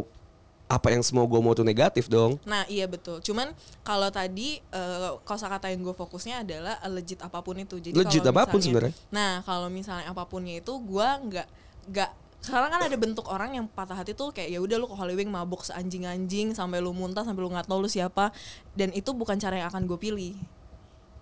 B: apa yang semua gua mau itu negatif dong
D: Nah iya betul. Cuman kalau tadi eh, kosakata yang gue fokusnya adalah eh, legit apapun itu. Jadi
B: Legit
D: kalau
B: apapun
D: misalnya-
B: sebenarnya.
D: Nah kalau misalnya apapunnya itu gue nggak nggak sekarang kan ada bentuk orang yang patah hati tuh kayak ya udah lu ke Halloween mabuk seanjing-anjing sampai lu muntah sampai lu nggak tahu lu siapa dan itu bukan cara yang akan gue pilih.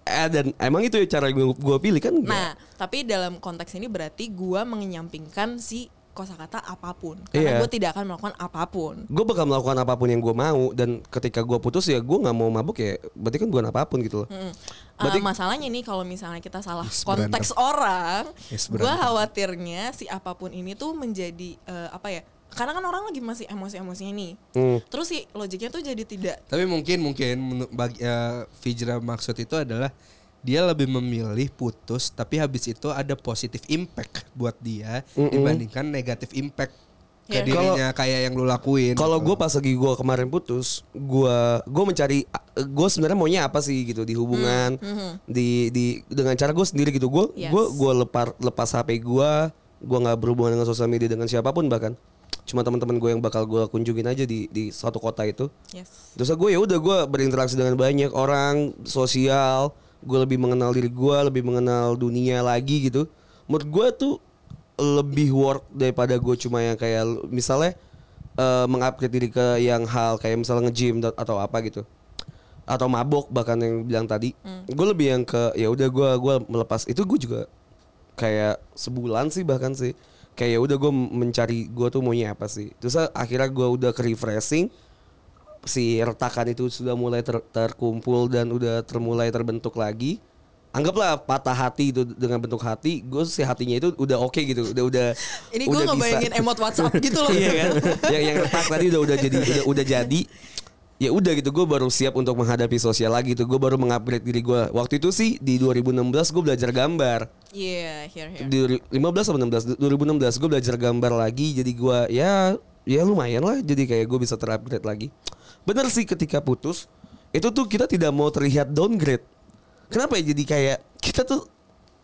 B: eh, dan emang itu ya cara yang gua, gua pilih kan nggak?
D: Nah tapi dalam konteks ini berarti gue menyampingkan si kosakata apapun
B: Iya.
D: karena gue tidak akan melakukan apapun.
B: gue bakal melakukan apapun yang gue mau dan ketika gue putus ya gue nggak mau mabuk ya berarti kan bukan apapun gitu loh
D: Mm.
B: Berarti-
D: Uh, masalahnya nih kalau misalnya kita salah
C: Yes,
D: konteks orang,
C: Yes,
D: gue
C: berantem.
D: khawatirnya si apapun ini tuh menjadi eh, apa ya? Karena kan orang lagi masih emosi-emosinya nih.
B: Hmm.
D: Terus si logiknya tuh jadi tidak.
C: Tapi mungkin mungkin menu- bagi eh, Fijra maksud itu adalah dia lebih memilih putus tapi habis itu ada positif impact buat dia dibandingkan negatif impact ke
D: Iya.
C: dirinya kayak yang lu lakuin.
B: kalau
C: gitu.
B: gue pas lagi gue kemarin putus gue gue mencari gue sebenarnya maunya apa sih gitu di hubungan di di dengan cara gue sendiri gitu gue
D: Yes.
B: gue gue lepar lepas hp gue gue nggak berhubungan dengan sosial media dengan siapapun bahkan cuma teman-teman gue yang bakal gue kunjungin aja di di suatu kota itu
D: Yes.
B: Terus gue ya udah gue berinteraksi dengan banyak orang sosial, gue lebih mengenal diri gue, lebih mengenal dunia lagi gitu. Menurut gue tuh lebih work daripada gue cuma yang kayak lu- misalnya eh, mengupgrade diri ke yang hal kayak misalnya nge-gym da- atau apa gitu atau mabok bahkan yang bilang tadi gue lebih yang ke ya udah gue gua melepas itu gue juga kayak sebulan sih bahkan sih kayak ya udah gue mencari gue tuh maunya apa sih terus akhirnya gue udah ke refreshing si retakan itu sudah mulai ter- terkumpul dan udah termulai terbentuk lagi anggaplah patah hati itu dengan bentuk hati gue si hatinya itu udah oke gitu udah udah
D: Ini gue
B: udah
D: ngebayangin
B: bisa.
D: emot WhatsApp gitu loh.
B: iya kan yang yang retak tadi udah udah jadi udah, udah jadi ya udah gitu gue baru siap untuk menghadapi sosial lagi tuh gue baru mengupgrade diri gue waktu itu sih di 2016 gue belajar gambar
D: Iya, here here.
B: di 15 atau 16 2016 gue belajar gambar lagi jadi gue ya ya lumayan lah jadi kayak gue bisa terupgrade lagi bener sih ketika putus itu tuh kita tidak mau terlihat downgrade kenapa ya jadi kayak kita tuh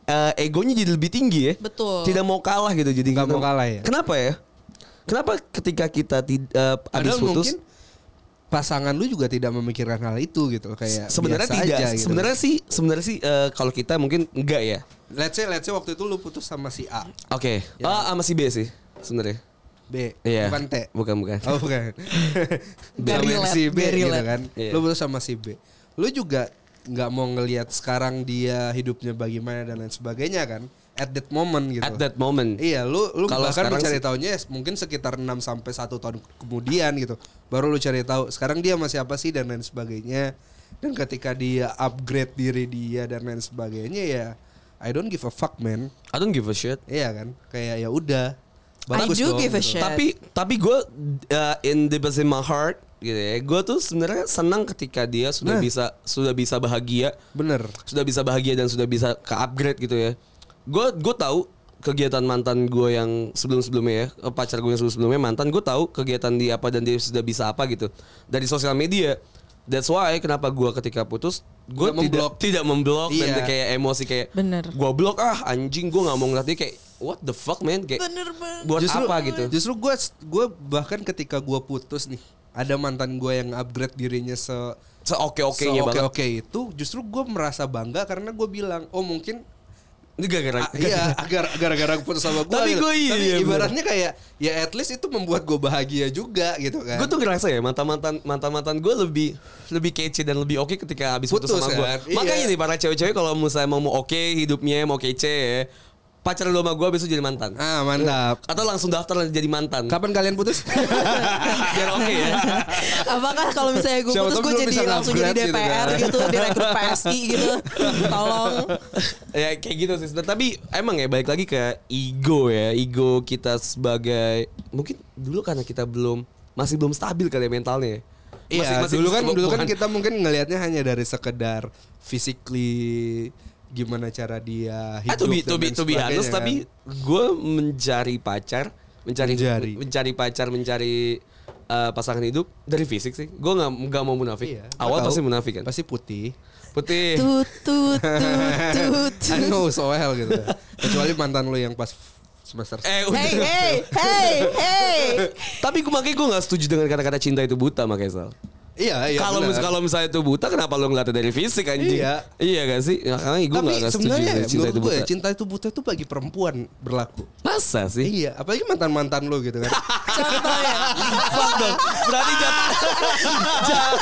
B: eh, egonya jadi lebih tinggi ya
D: Betul.
B: tidak mau kalah gitu jadi
C: Nggak
B: kita-
C: mau kalah ya?
B: kenapa ya kenapa ketika kita tidak habis
C: Padahal
B: putus
C: mungkin pasangan lu juga tidak memikirkan hal itu gitu loh, kayak
B: sebenarnya
C: biasa
B: tidak
C: aja gitu.
B: sebenarnya sih sebenarnya sih eh, kalau kita mungkin enggak ya
C: let's say let's say waktu itu lu putus sama si A,
B: oke
C: Ya.
B: ah sama si B sih sebenarnya
C: B,
B: Iya.
C: bukan T.
B: bukan bukan
C: Oh bukan. Sama
D: Dari
C: yang
D: lab,
C: si B gitu
D: dari lab.
C: kan.
B: Iya.
C: Lu putus sama si B. Lu juga nggak mau ngelihat sekarang dia hidupnya bagaimana dan lain sebagainya kan. At that moment gitu.
B: At that moment.
C: Iya, lu lu
B: Kalau
C: bahkan
B: sekarang
C: mencari
B: sih-
C: tahunya ya mungkin sekitar 6 sampai 1 tahun kemudian gitu. Baru lu cari tahu sekarang dia masih apa sih dan lain sebagainya. Dan ketika dia upgrade diri dia dan lain sebagainya ya I don't give a fuck man.
B: I don't give a shit.
C: Iya kan? Kayak ya udah.
D: I
C: Bagus dong,
D: do give a
C: gitu.
D: shit.
B: Tapi tapi gue in the best in my heart gitu ya. Gue tuh sebenarnya senang ketika dia sudah
C: Nah.
B: bisa sudah bisa bahagia,
C: Bener.
B: sudah bisa bahagia dan sudah bisa ke upgrade gitu ya. Gue gue tahu kegiatan mantan gue yang sebelum-sebelumnya ya eh, pacar gue yang sebelum-sebelumnya mantan gue tahu kegiatan dia apa dan dia sudah bisa apa gitu dari sosial media that's why kenapa gue ketika putus gue
C: Nggak memblok.
B: tidak tidak memblok
C: Iya.
B: dan kayak emosi kayak
D: Bener.
B: gue blok ah anjing gue nggak mau ngeliat dia kayak what the fuck man kayak
D: Bener banget.
B: buat apa gitu
C: Justru gue gue bahkan ketika gue putus nih ada mantan gue yang upgrade dirinya se
B: seoke okenya
C: oke
B: banget
C: oke itu justru gue merasa bangga karena gue bilang oh mungkin
B: ini gara-gara
C: ah, iya agar gara-gara gua putus sama gue
B: Tapi gua iya, iya, bener.
C: ibaratnya kayak ya at least itu membuat gue bahagia juga gitu kan
B: gue tuh ngerasa ya mantan mantan mantan mantan gue lebih lebih kece dan lebih oke ketika habis putus,
C: Putus
B: sama
C: kan?
B: gue
C: Iya.
B: makanya nih para cewek-cewek kalau misalnya mau mau oke hidupnya mau kece ya pacar lu sama gue besok jadi mantan
C: ah mantap
B: atau langsung daftar jadi mantan
C: kapan kalian putus Iya,
B: biar oke ya
D: Apakah kalau misalnya gue
C: Siapa
D: putus
C: tahu
D: gue
C: belum
D: jadi
C: bisa
D: langsung jadi
C: upgrade gitu
D: DPR
C: kan.
D: gitu, direkrut PSI gitu. Tolong.
B: ya kayak gitu sih sebenarnya. tapi emang ya balik lagi ke ego ya ego kita sebagai mungkin dulu karena kita belum masih belum stabil kali ya mentalnya ya.
C: Iya, dulu kan
B: bu-
C: dulu kan
B: bukan-
C: kita mungkin ngelihatnya hanya dari sekedar physically gimana cara dia
B: Ah,
C: hidup
B: to be, to
C: dan
B: be,
C: lain
B: to be
C: sebagainya
B: honest,
C: kan.
B: tapi gue mencari pacar, mencari
C: Mencari.
B: mencari pacar, mencari eh, pasangan hidup dari fisik sih. Gue nggak nggak mau munafik.
C: Iya, gua
B: Awal
C: tahu.
B: pasti munafik kan.
C: Pasti putih.
B: Putih.
D: Tut tut tut tut.
C: I know so well gitu. Kecuali mantan lu yang pas semester
B: Eh, udah.
D: Hey hey hey hey.
B: Tapi gue makanya gue nggak setuju dengan kata-kata cinta itu buta makanya Sal.
C: Iya, iya.
B: kalau
C: benar.
B: mis kalau misalnya itu buta, kenapa lo ngeliatnya dari fisik anjing?
C: Iya.
B: Iya gak sih? Makanya gue
C: tapi
B: nggak nggak setuju
C: sebenarnya
B: dengan cinta itu Eh?
C: menurut gue
B: buta.
C: ya, cinta itu buta itu bagi perempuan berlaku.
B: Masa sih?
C: Iya, apalagi mantan-mantan lu gitu kan.
D: Contohnya.
B: Fuck dong. Berarti jat jat-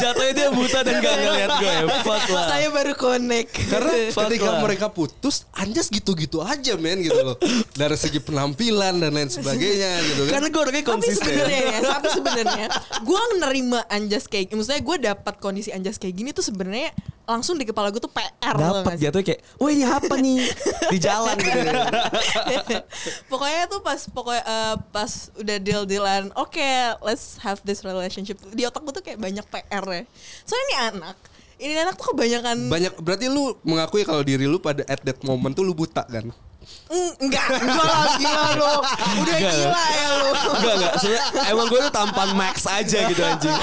B: jatuhnya dia buta dan gak ngeliat gue. Fuck lah.
D: Saya baru connect.
C: Karena
B: Fuck
C: ketika
B: lah.
C: mereka putus, Anjas gitu-gitu aja men gitu loh. Dari segi penampilan dan lain sebagainya gitu kan.
B: Karena gue orangnya
D: tapi
B: konsisten.
D: sebenarnya ya, tapi sebenarnya gue nerima anjas kayak maksudnya gue dapat kondisi anjas kayak gini tuh sebenarnya langsung di kepala gue tuh PR loh
B: Dapat jatuhnya kayak, wah ini apa nih? Di jalan gitu.
D: pokoknya tuh pas pokoknya eh, pas udah deal dealan oke let's have this relationship di otak gue tuh kayak banyak PR ya soalnya ini anak ini anak tuh kebanyakan
C: Banyak berarti lu mengakui kalau diri lu pada at that moment tuh lu buta kan.
D: Mm, enggak enggak lah gila lo udah
B: Enggak.
D: gila ya lo
B: Enggak, enggak. Sebenarnya emang gue tuh tampan max aja gitu anjing.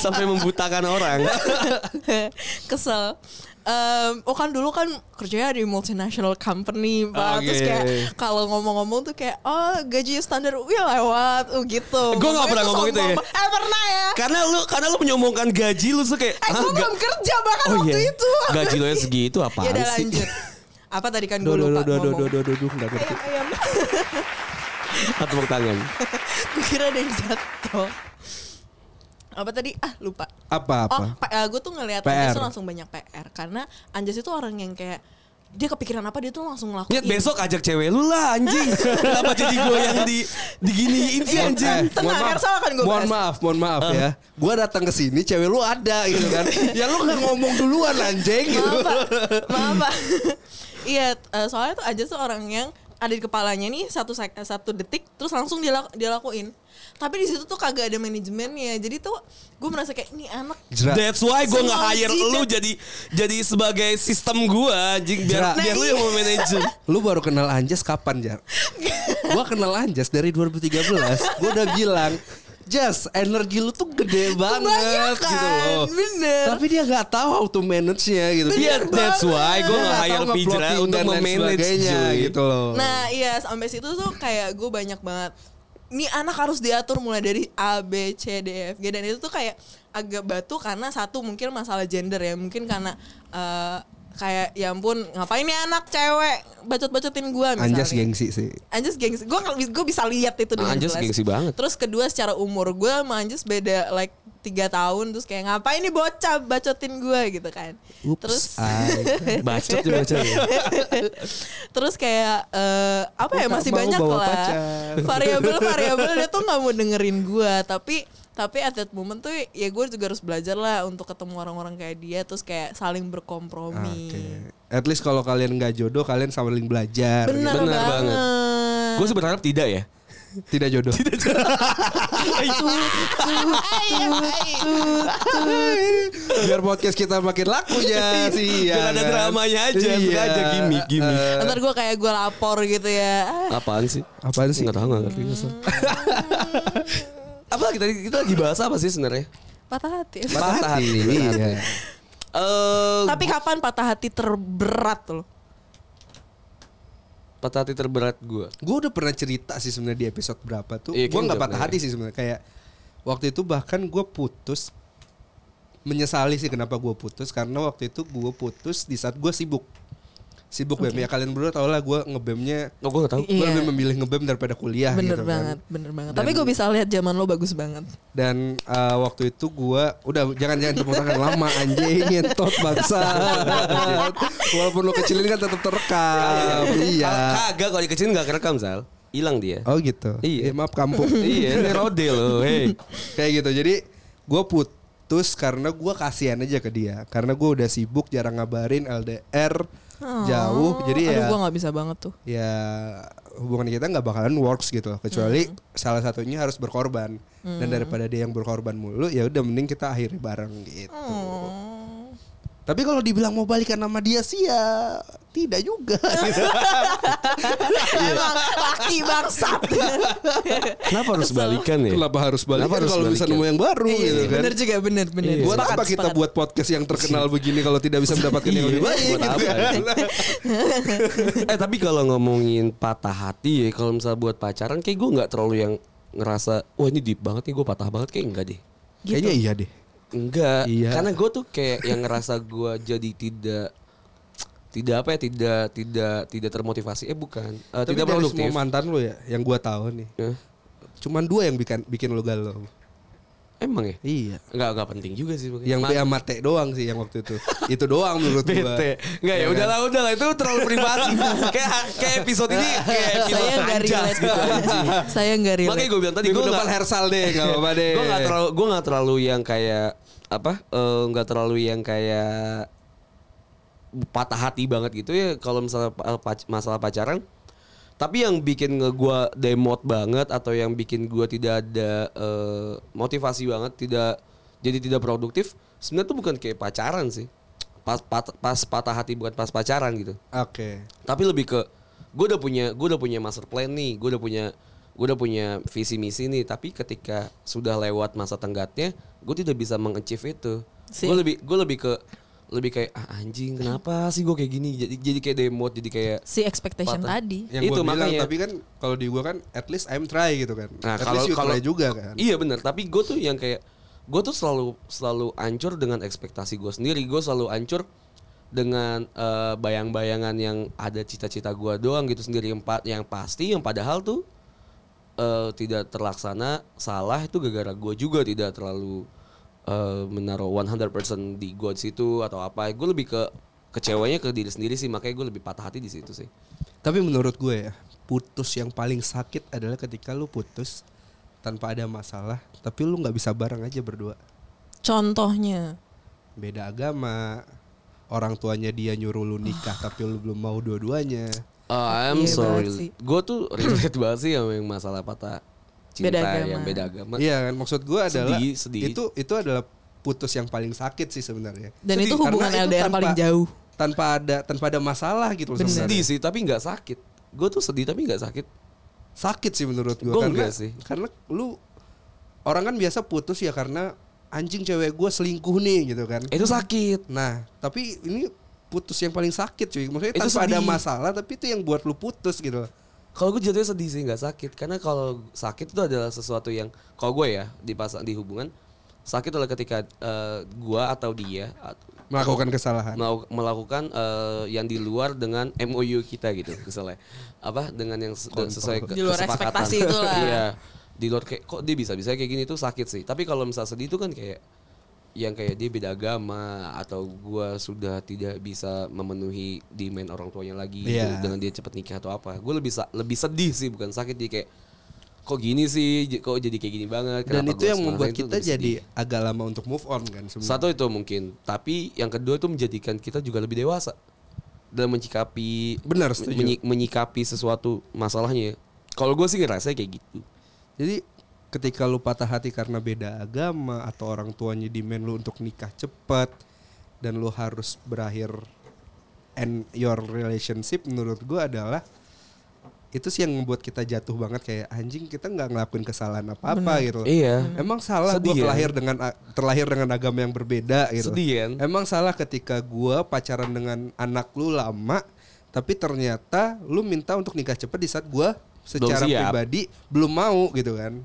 B: Sampai membutakan orang.
D: kesel Em, oh kan dulu kan kerjanya di multinational company pak terus
B: Oke.
D: kayak kalau ngomong-ngomong tuh kayak oh gaji standar wih lewat oh
B: Gua
D: gitu
B: nggak
D: Ngomongnya
B: pernah
D: tuh
B: ngomong gitu ya.
D: sombong. eh pernah ya
B: Karena lu karena lu menyombongkan gaji lu tuh kayak
D: eh
B: "Hah, Oh,
D: gue
B: ga-
D: belum kerja bahkan waktu itu
B: Gaji lu yang segitu apaan
D: ya udah
B: sih?
D: lanjut apa tadi kan gue
B: Duh, duh,
D: lupa
B: duh, duh, duh,
D: ngomong
B: duh, duh, duh, duh, nggak ngerti.
D: ayam ayam
B: Satu tepuk tangan.
D: gue kira ada yang jatuh apa tadi ah lupa Oh,
C: Apa-apa.
D: P- eh, gue tuh ngelihat
C: PR.
D: Anjas tuh langsung banyak PR karena Anjas itu orang yang kayak dia kepikiran apa dia tuh langsung ngelakuin.
B: Nyet besok ajak cewek lu lah anjing. Kenapa jadi gue yang di diginiin sih
D: Iya,
B: anjing?
D: eh. Tenang, Hersal akan gua
C: mohon
D: bahas.
C: maaf, mohon maaf ya. Gua datang ke sini cewek lu ada gitu kan. ya lu nggak ngomong duluan anjing gitu.
D: Maaf pak, maaf pak. Iya, t- eh, soalnya tuh Anjas tuh orang yang ada di kepalanya nih satu sek- eh, satu detik terus langsung dia, lak- dia lakuin. Tapi di situ tuh kagak ada manajemennya. Jadi tuh gue merasa kayak ini anak
C: Jerak.
B: That's why gue nggak
D: Semua
B: hire
D: jidat.
B: lu jadi jadi sebagai sistem gue anjing biar
C: Jerak.
B: biar lu yang mau manajer.
C: Lu baru kenal Anjas kapan, Jar? gua kenal Anjas dari 2013. Gua udah bilang, Jas, energi lu tuh gede banget
D: Kebanyakan,
C: gitu loh.
D: bener.
C: Tapi dia nggak tahu how to manage-nya gitu.
B: Iya, that's why gue nggak
C: Dia nggak tahu
B: hire Pijra
C: nge-plotting
B: untuk
C: dan lain
B: memanage
C: sebagainya gitu
B: gitu.
C: loh.
D: Nah iya sampai situ tuh kayak gue banyak banget Nih anak harus diatur mulai dari A, B, C, D, F, G Dan itu tuh kayak agak batu karena satu mungkin masalah gender ya Mungkin karena eh, kayak ya ampun ngapain nih anak cewek bacot-bacotin gue Nah, misalnya
C: Anjas gengsi sih.
D: Anjas gengsi gue gue bisa lihat itu dengan
B: Anjas
D: jelas.
B: gengsi banget.
D: terus kedua secara umur gue sama Anjas beda like tiga tahun terus kayak ngapain nih bocah bacotin gue gitu kan
C: Oops,
D: terus
C: I-
B: Bacot tuh bacot.
D: terus kayak eh, apa
C: Gua
D: ya
C: tak
D: masih
C: mau
D: banyak
C: bawa
D: lah
C: pacar.
D: variabel variabel dia tuh nggak mau dengerin gua tapi tapi at that moment tuh ya gue juga harus belajar lah untuk ketemu orang-orang kayak dia terus kayak saling berkompromi
C: Oke. At least kalau kalian nggak jodoh, kalian saling belajar. Gitu.
D: bener,
B: Bener
D: banget,
B: banget. Gue sih berharap tidak ya.
C: Tidak jodoh. Biar podcast kita makin laku ya sih.
B: Iya. Biar ada dramanya aja,
C: Iya.
B: bukan aja gimmick,
C: Eh,
B: gimmick.
D: ntar gue kayak gue lapor gitu ya
B: Apaan sih?
C: Apaan sih?
B: Nggak tahu nggak ngerti. Sal. apa kita kita lagi bahas apa sih sebenarnya?
D: patah hati
B: Patah hati, patah hati.
C: Iya.
B: Eh,
D: tapi kapan patah hati terberat lo
B: patah hati terberat gue.
C: Gue udah pernah cerita sih sebenarnya di episode berapa tuh.
B: Iya,
C: gue
B: kayaknya
C: nggak
B: udah
C: patah
B: pernah
C: hati sih sebenarnya. Kayak waktu itu bahkan gue putus menyesali sih kenapa gue putus karena waktu itu gue putus di saat gue sibuk sibuk bem ya kalian berdua tau lah gue ngebemnya
B: Oh gue nggak tahu.
C: gue
D: Iya.
C: lebih memilih ngebem daripada kuliah
D: bener
C: gitu kan.
D: banget bener banget tapi gue bisa lihat zaman lo bagus banget
C: Dan eh, waktu itu gua udah jangan jangan tepuk tangan lama anjing ngentot bangsa. Walaupun lu kecilin kan tetap terekam. iya.
B: Ka- Kagak kalau dikecilin nggak kerekam sal. Hilang dia.
C: Oh gitu.
B: Iya.
C: Ya, maaf kampung.
B: iya, ini rode loh. Hey.
C: Kayak gitu. Jadi gua putus karena gua kasihan aja ke dia. Karena gua udah sibuk jarang ngabarin LDR jauh. Jadi
D: Oh. Aduh,
C: ya
D: gue nggak bisa banget tuh
C: ya hubungan kita nggak bakalan works gitu loh kecuali salah satunya harus berkorban dan daripada dia yang berkorban mulu ya udah mending kita akhiri bareng gitu Tapi kalau dibilang mau balikan nama dia sih ya tidak juga. gitu. Iya.
D: Emang laki bangsat.
B: Kenapa harus balikan ya?
C: Kenapa harus balikan
B: Kenapa harus
C: kalau bisa
B: balikan?
C: nemu yang baru
D: Iya,
C: gitu kan?
D: Bener juga, bener bener.
B: Iya.
C: Buat
D: Sepakat,
C: apa kita
D: sepakat.
C: buat podcast yang terkenal begini kalau tidak bisa mendapatkan yang lebih
B: Iya,
C: baik
B: buat
C: gitu
B: apa?
C: kan?
B: eh tapi kalau ngomongin patah hati ya, kalau misalnya buat pacaran kayak gue nggak terlalu yang ngerasa, wah ini deep banget nih gue patah banget kayak enggak deh.
C: Kayaknya iya deh.
B: Enggak,
C: Iya.
B: karena gue tuh kayak yang ngerasa gue jadi tidak tidak apa ya tidak tidak tidak termotivasi eh bukan eh,
C: Tapi
B: tidak
C: dari
B: produktif
C: semua mantan lo ya, yang gua tahu nih.
B: Eh,
C: Cuman dua yang bikin bikin lo galau.
B: emang ya
C: Iya.
B: enggak enggak penting juga sih mungkin.
C: Yang
B: Ma-
C: B sama T doang sih yang waktu itu. itu doang menurut gua.
B: bete enggak ya
C: kan?
B: udahlah udahlah itu terlalu privasi kayak kayak episode ini kayak episode
D: Saya nggak
B: anjas
D: relate.
B: gitu
D: Saya nggak relate.
B: makanya gue bilang tadi
C: Minggu
B: gue
C: depan
B: nggak
C: hersal deh, gak apa-apa deh.
B: gue nggak terlalu gue nggak terlalu yang kayak apa eh, nggak terlalu yang kayak patah hati banget gitu ya kalau misalnya pa- pac- masalah pacaran tapi yang bikin nge gua demot banget atau yang bikin gua tidak ada eh, motivasi banget tidak jadi tidak produktif sebenarnya tuh bukan kayak pacaran sih pas pat- pas patah hati bukan pas pacaran gitu
C: Oke.
B: tapi lebih ke gue udah punya gue udah punya master plan nih gue udah punya gue udah punya visi misi nih tapi ketika sudah lewat masa tenggatnya gue tidak bisa mengachieve itu
D: Sih.
B: gue lebih gue lebih ke lebih kayak ah, anjing kenapa sih gue kayak gini jadi jadi kayak demot jadi kayak
D: si expectation
B: Patah.
D: tadi.
C: Yang
B: Itu
C: gua bilang
B: makanya.
C: tapi kan kalau di gua kan at least I'm try gitu kan.
B: Nah,
C: at
B: kalau-
C: least you
B: kalau-
C: try juga kan.
B: Iya benar, tapi gue tuh yang kayak gue tuh selalu selalu ancur dengan ekspektasi gue sendiri. Gue selalu ancur dengan eh, bayang-bayangan yang ada cita-cita gue doang gitu sendiri yang, pa- yang pasti yang padahal tuh eh, tidak terlaksana salah itu gara-gara gue juga tidak terlalu eh, menaruh 100% di gue di situ atau apa. Gue lebih ke kecewanya ke diri sendiri sih makanya gue lebih patah hati di situ sih.
C: Tapi menurut gue ya, putus yang paling sakit adalah ketika lu putus tanpa ada masalah, tapi lu nggak bisa bareng aja berdua.
D: Contohnya.
C: Beda agama, orang tuanya dia nyuruh lu nikah
B: Ah.
C: tapi lu belum mau dua-duanya.
B: Oh, I'm
D: Iya
B: sorry.
D: banget sih.
B: Gue tuh relate banget sih sama yang masalah patah cinta
D: Beda agama.
B: yang beda agama.
C: Iya kan, maksud gue adalah
B: Sedih, sedih.
C: itu itu adalah putus yang paling sakit sih sebenarnya.
D: Dan
C: Sedih,
D: itu hubungan
C: karena itu
D: LDR paling jauh.
C: Tanpa ada tanpa ada masalah gitu loh
B: Sedih
C: sebenarnya.
B: sih, tapi nggak sakit. Gue tuh sedih tapi nggak sakit.
C: Sakit sih menurut gue
B: Gua
C: karena
B: enggak sih.
C: karena lu orang kan biasa putus ya karena anjing cewek gue selingkuh nih gitu kan.
B: Itu sakit.
C: Nah, tapi ini putus yang paling sakit cuy. Maksudnya
B: Itu
C: tanpa ada
B: sedih.
C: masalah tapi itu yang buat lu putus gitu loh.
B: Kalau gue jatuhnya sedih sih nggak sakit, karena kalau sakit itu adalah sesuatu yang kalau gue ya di pasang di hubungan sakit adalah ketika eh, gue atau dia at-
C: Melakukan kesalahan.
B: Melau- melakukan eh, yang di luar dengan MOU kita gitu misalnya apa dengan yang se- sesuai ke-
D: Di luar
B: kesepakatan.
D: ekspektasi itulah.
B: iya di luar kayak kok dia bisa bisa kayak gini tuh sakit sih tapi kalau misalnya sedih itu kan kayak yang kayak dia beda agama atau gua sudah tidak bisa memenuhi demand orang tuanya lagi gitu,
C: Iya.
B: dengan dia cepet nikah atau apa gue lebih sa- lebih sedih sih bukan sakit jadi kayak kok gini sih J- kok jadi kayak gini banget
C: Dan
B: Kenapa
C: itu
B: gua
C: yang
B: harus
C: membuat
B: ngerasain?" Itu
C: kita
B: lebih sedih.
C: jadi agak lama untuk move on kan sebenarnya.
B: Satu itu mungkin, tapi yang kedua itu menjadikan kita juga lebih dewasa dalam menyikapi
C: Benar, setuju.
B: menyi- menyikapi sesuatu masalahnya. ya. Kalau gue sih ngerasa kayak gitu.
C: Jadi ketika lu patah hati karena beda agama atau orang tuanya demand lu untuk nikah cepat dan lu harus berakhir and your relationship menurut gua adalah itu sih yang membuat kita jatuh banget kayak anjing kita nggak ngelakuin kesalahan apa apa gitu. loh.
B: Iya.
C: Emang salah
B: Sedih
C: gue
B: ya?
C: terlahir dengan a- terlahir dengan agama yang berbeda gitu.
B: Sedih kan?
C: Emang salah ketika gua pacaran dengan anak lu lama, tapi ternyata lu minta untuk nikah cepet di saat gua secara
B: Belum siap.
C: pribadi belum mau gitu kan?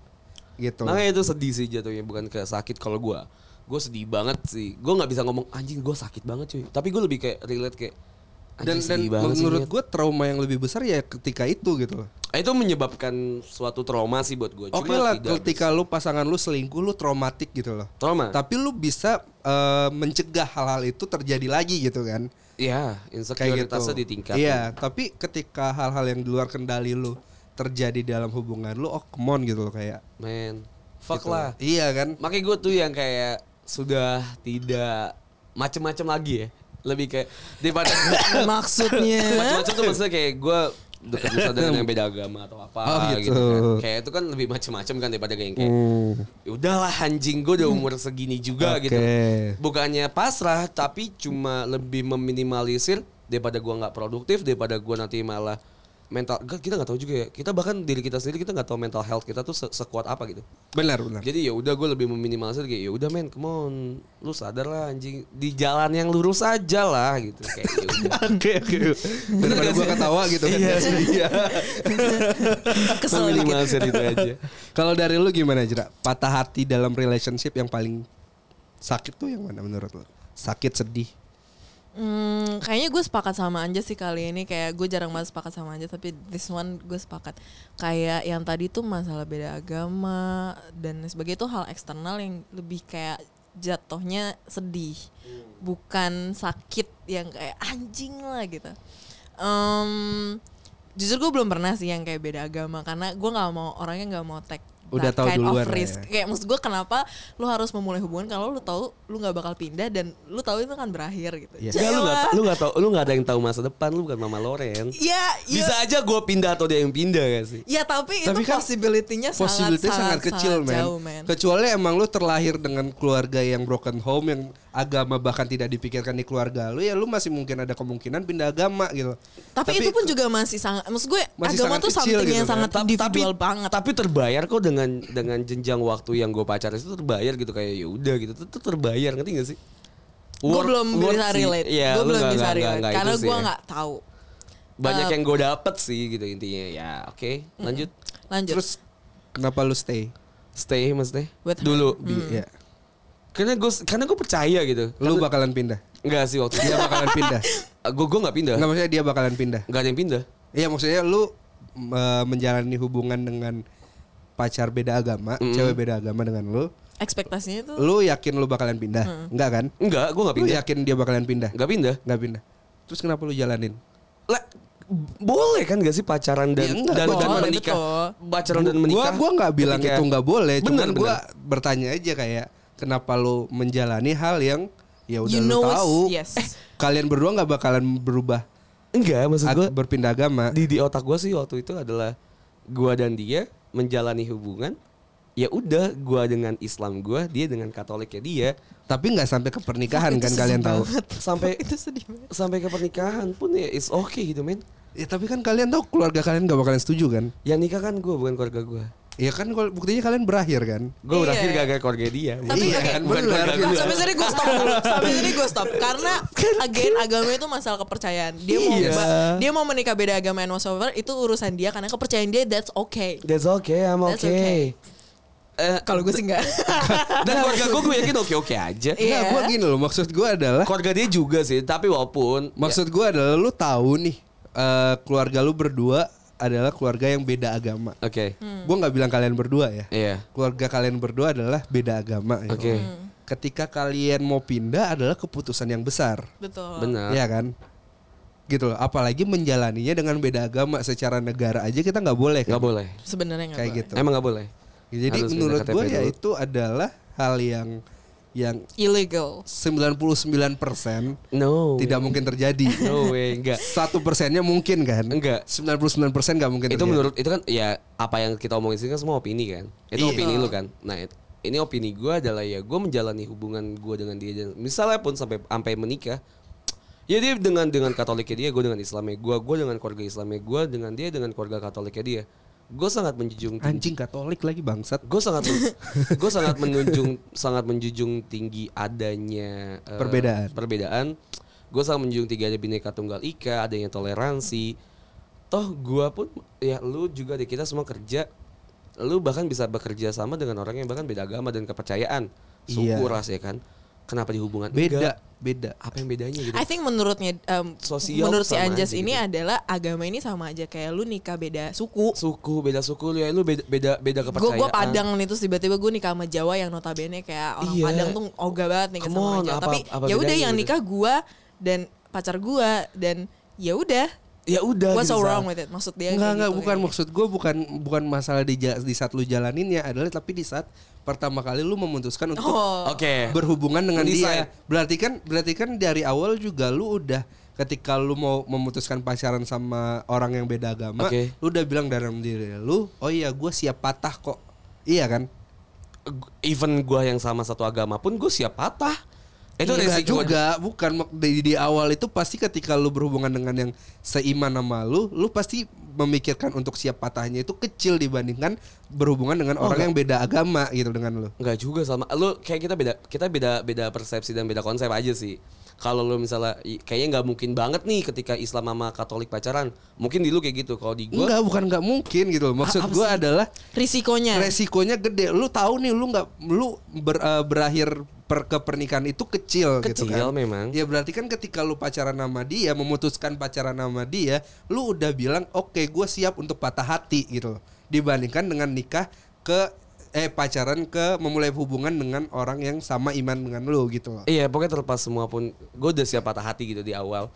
C: Gitu.
B: Makanya itu sedih sih jatuhnya bukan ke sakit kalau gue. Gue sedih banget sih. Gue nggak bisa ngomong anjing gue sakit banget cuy. Tapi gue lebih kayak relate kayak anjing
C: dan dan
B: sedih banget sih,
C: menurut
B: Nyet.
C: gua trauma yang lebih besar ya ketika itu gitu. loh.
B: Eh, itu menyebabkan suatu trauma sih buat gue.
C: Oke lah, ketika lu pasangan lu selingkuh lu traumatik gitu loh.
B: trauma.
C: Tapi lu bisa eh, mencegah hal-hal itu terjadi lagi gitu kan?
B: Iya,
C: kayak gitu.
B: insekuritasnya ditingkat.
C: Iya, tapi ketika hal-hal yang di luar kendali lu terjadi dalam hubungan lu, oh come on gitu loh kayak.
B: Man, fuck
C: gitu.
B: lah.
C: Iya kan?
B: Makanya gue tuh yang kayak sudah tidak macem-macem lagi ya. Lebih kayak daripada
D: Maksudnya.
B: macem-macem tuh maksudnya kayak gue dekat misalnya dengan yang beda agama atau apa
C: Oh, gitu.
B: gitu. kan. Kayak itu kan lebih macem-macem kan daripada kayak kayak "Ya udahlah anjing gue udah umur segini juga
C: Oke.
B: gitu. Bukannya pasrah tapi cuma lebih meminimalisir daripada gua nggak produktif daripada gua nanti malah mental Nggak, kita nggak tahu juga ya kita bahkan diri kita sendiri kita nggak tahu mental health kita tuh se- sekuat apa gitu
C: Benar, benar.
B: jadi ya udah gue lebih meminimalisir kayak ya udah men come on lu sadar lah anjing di jalan yang lurus aja lah gitu kayak ya udah.
C: Oke, oke. Daripada gua ketawa gitu kan.
B: Iya, iya.
C: Iya.
D: Kesel dikit.
B: Meminimalisir itu aja.
C: Kalau dari lu gimana, Jera? Patah hati dalam relationship yang paling sakit tuh yang mana menurut lu? Sakit, sedih.
D: Hmm, kayaknya gue sepakat sama Anja sih kali ini kayak gue jarang banget sepakat sama Anja tapi this one gue sepakat kayak yang tadi tuh masalah beda agama dan lain sebagainya itu hal eksternal yang lebih kayak jatuhnya sedih bukan sakit yang kayak anjing lah gitu. Em, jujur gue belum pernah sih yang kayak beda agama karena gue nggak mau orangnya nggak mau take
C: Udah
D: that
C: tahu
D: kind
C: duluan
D: of
C: lah
D: risk
C: ya.
D: kayak maksud gue kenapa lu harus memulai hubungan kalau lu tahu lu nggak bakal pindah dan lu tahu itu kan berakhir gitu.
C: Iya.
B: Enggak, lu nggak
D: Cewa.
B: lu nggak tahu lu nggak ada yang tahu masa depan lu bukan mama Loren.
D: Iya, iya.
B: Bisa aja gue pindah atau dia yang pindah gak sih?
D: Ya tapi,
C: Tapi
D: itu
C: kan
D: possibility-nya sangat,
C: Posibilitasnya sangat, kecil,
D: sangat
C: men.
D: jauh, men.
C: Kecuali emang lu terlahir dengan keluarga yang broken home yang agama bahkan tidak dipikirkan di keluarga lu, ya lu masih mungkin ada kemungkinan pindah agama gitu.
D: tapi, itu pun juga masih sangat maksud gue
C: Masih sangat
D: agama tuh
C: kecil
D: something
C: gitu
D: yang
C: kan.
D: sangat
B: Ta-
D: individual
B: tapi,
D: banget.
B: Tapi terbayar kok dengan dengan jenjang waktu yang gue pacaran itu terbayar gitu kayak ya udah gitu. Itu terbayar ngerti gak sih?
D: gue
B: Worth-
D: belum
B: worth
D: bisa
B: sih.
D: relate.
B: Iya,
D: gue
B: lu nggak-
D: belum bisa
B: nggak- nggak-
D: relate
B: nggak itu
D: karena
B: sih
D: gue
B: ya.
D: nggak tahu.
B: banyak
D: eh,
B: yang gue dapet sih gitu intinya ya oke lanjut
D: Lanjut.
C: Terus kenapa lu stay?
B: stay maksudnya
D: With her.
B: dulu
C: Iya.
B: karena gue karena gue percaya gitu
C: Lu bakalan pindah.
B: Enggak sih waktu
C: Dia
B: dia
C: bakalan pindah.
B: gue gue nggak pindah
C: Enggak maksudnya dia bakalan pindah.
B: nggak ada yang pindah
C: Iya maksudnya lu m- eh, menjalani hubungan dengan pacar beda agama, cewek beda agama dengan lu.
D: ekspektasinya tuh
C: Lu yakin lu bakalan pindah? Enggak kan?
B: Enggak, gue nggak
C: Lu
B: pindah
C: yakin dia bakalan pindah?
B: nggak pindah
C: Enggak pindah. Terus kenapa lu jalanin?
B: lah boleh kan gak sih pacaran dan
C: Ya, enggak,
B: dan, dan
D: boleh,
B: menikah
D: betul.
B: pacaran dan menikah
C: Gua gua nggak bilang
B: ketika-
C: itu nggak boleh,
B: bener,
C: cuman
B: bener.
C: gua bertanya aja kayak kenapa lu menjalani hal yang ya udah
D: You
C: lu
D: know it's-
C: tahu.
D: yes.
C: Eh, kalian berdua nggak bakalan berubah
B: enggak maksud
C: at-
B: gue
C: berpindah agama.
B: di di otak gue sih waktu itu adalah gue dan dia menjalani hubungan ya udah gue dengan Islam gue dia dengan Katoliknya dia
C: tapi nggak sampai ke pernikahan
D: Itu
C: kan
D: susah
C: kalian tahu.
D: banget.
B: sampai
D: itu sedih banget.
B: sampai ke pernikahan pun ya it's okay gitu men
C: Ya tapi kan kalian tahu keluarga kalian gak bakalan setuju kan?
B: yang nikah kan gue bukan keluarga gue
C: Ya kan kalau- buktinya kalian berakhir kan? Iya,
B: gue
D: Iya.
B: berakhir gara-gara keluarga dia
D: Tapi, oke,
B: kan, bukan
C: bener.
B: keluarga
D: Nah,
B: gue
D: sampai sini gue stop dulu. Sampai sini gue stop karena again agama itu masalah kepercayaan. Dia mau
B: Iya.
D: ba- dia mau menikah beda agama and whatsoever itu urusan dia karena kepercayaan dia that's okay.
B: that's okay I'm
D: That's
B: okay, Eh,
D: Kalau gue sih enggak.
B: dan keluarga gue gue yakin oke oke aja
D: Iya.
C: Nah, gue gini loh, maksud gue adalah
B: keluarga dia juga sih tapi walaupun
C: maksud gue adalah lu tahu nih eh, keluarga lu berdua adalah keluarga yang beda agama.
B: Ya, oke
C: Gue nggak bilang kalian berdua ya.
B: iya
C: Keluarga kalian berdua adalah beda agama. gitu.
B: Oke. Hmm.
C: Ketika kalian mau pindah adalah keputusan yang besar,
D: Betul.
B: benar
C: Iya kan? Gitu loh. Apalagi menjalaninya dengan beda agama secara negara aja kita nggak boleh. Kan?
B: nggak boleh
D: Sebenarnya enggak.
C: Kayak
D: boleh.
C: gitu.
B: emang nggak boleh
C: Jadi
B: Harus pindah
C: menurut
B: KTP
C: gue ya
B: dulu.
C: itu adalah hal yang yang
D: Illegal.
C: 99%
B: no
C: tidak mungkin terjadi.
B: no way Oh, iya. enggak
C: Satu persennya mungkin kan?
B: Enggak.
C: 99% nggak mungkin.
B: itu
C: terjadi.
B: menurut itu kan ya apa yang kita omongin sini kan semua opini kan itu
C: Iya.
B: opini lu kan nah it- ini opini gue adalah ya gue menjalani hubungan gue dengan dia dan misalnya pun sampai sampai menikah ya dia dengan dengan Katoliknya dia gue dengan Islamnya gue gue dengan keluarga Islamnya gue dengan dia dengan keluarga Katoliknya dia gue sangat menjunjung tinggi
C: anjing Katolik lagi bangsat.
B: gue sangat gue sangat menjunjung sangat menjunjung tinggi adanya eh,
C: Perbedaan.
B: perbedaan gue sangat menjunjung tinggi ada bineka tunggal ika adanya toleransi toh gue pun ya lu juga deh kita semua kerja lu bahkan bisa bekerja sama dengan orang yang bahkan beda agama dan kepercayaan suku
C: Iya.
B: ras ya kan kenapa di hubungan
C: Beda,
B: enggak?
C: beda.
B: apa yang bedanya gitu
D: I think menurutnya em,
B: Sosial
D: menurut si
B: sama
D: Anjas
B: aja
D: ini
B: gitu.
D: adalah agama ini sama aja kayak lu nikah beda suku.
B: suku beda suku lu ya lu beda beda beda
D: Gue
B: kepercayaan
D: gue Padang nih terus tiba-tiba gue nikah sama Jawa yang notabene kayak orang
B: Iya.
D: Padang tuh ogah banget nikah
B: Come
D: sama orang
B: on,
D: Jawa.
B: apa-
D: Tapi
B: apa
D: ya udah
B: bedanya
D: yang
B: gitu?
D: nikah gue dan pacar gue dan ya udah.
B: ya udah
D: What's so
B: gitu, Sal.
D: wrong with it? Maksud dia
C: Enggak,
D: kayak
C: enggak,
D: gitu,
C: bukan
D: kayak gitu.
C: maksud gue bukan bukan masalah di, ja- di saat lu jalaninnya adalah tapi di saat pertama kali lu memutuskan untuk
D: Oh.
B: oke
C: berhubungan dengan dia.
B: Mendesain.
C: Berarti kan berarti kan dari awal juga lu udah ketika lu mau memutuskan pacaran sama orang yang beda agama,
B: Oke.
C: lu udah bilang dalam diri lu, oh iya gue siap patah kok. Iya kan?
B: Even gua yang sama satu agama pun gue siap patah. Itu
C: Enggak
B: resiko aja.
C: juga, bukan Mak- di, di awal itu pasti ketika lu berhubungan dengan yang seiman sama lu, lu pasti memikirkan untuk siap patahnya itu kecil dibandingkan berhubungan dengan
B: Oh,
C: orang yang beda agama gitu dengan lu.
B: Enggak juga sama. Lu kayak kita beda kita beda beda persepsi dan beda konsep aja sih. Kalau lu misalnya i- kayaknya nggak mungkin banget nih ketika Islam sama Katolik pacaran. Mungkin di lu kayak gitu. Kalau di gua
C: Enggak, bukan nggak mungkin gitu loh. Maksud gue adalah
D: Risikonya.
C: resikonya gede. Lu tahu nih lu nggak lu ber- eh, berakhir per, ke pernikahan itu kecil, gitu
B: Kecil
C: kan.
B: memang.
C: Ya berarti kan ketika lu pacaran sama dia, memutuskan pacaran sama dia, lu udah bilang oke gue siap untuk patah hati gitu loh. Dibandingkan dengan nikah ke eh pacaran ke memulai hubungan dengan orang yang sama iman dengan lu gitu loh.
B: Iya pokoknya terlepas semua pun gue udah siap patah hati gitu di awal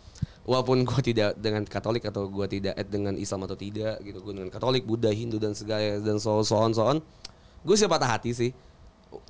B: Walaupun gue tidak dengan Katolik atau gue tidak eh, dengan Islam atau tidak gitu Gue dengan Katolik, Buddha, Hindu dan segala dan so so on so on Gue siap patah hati sih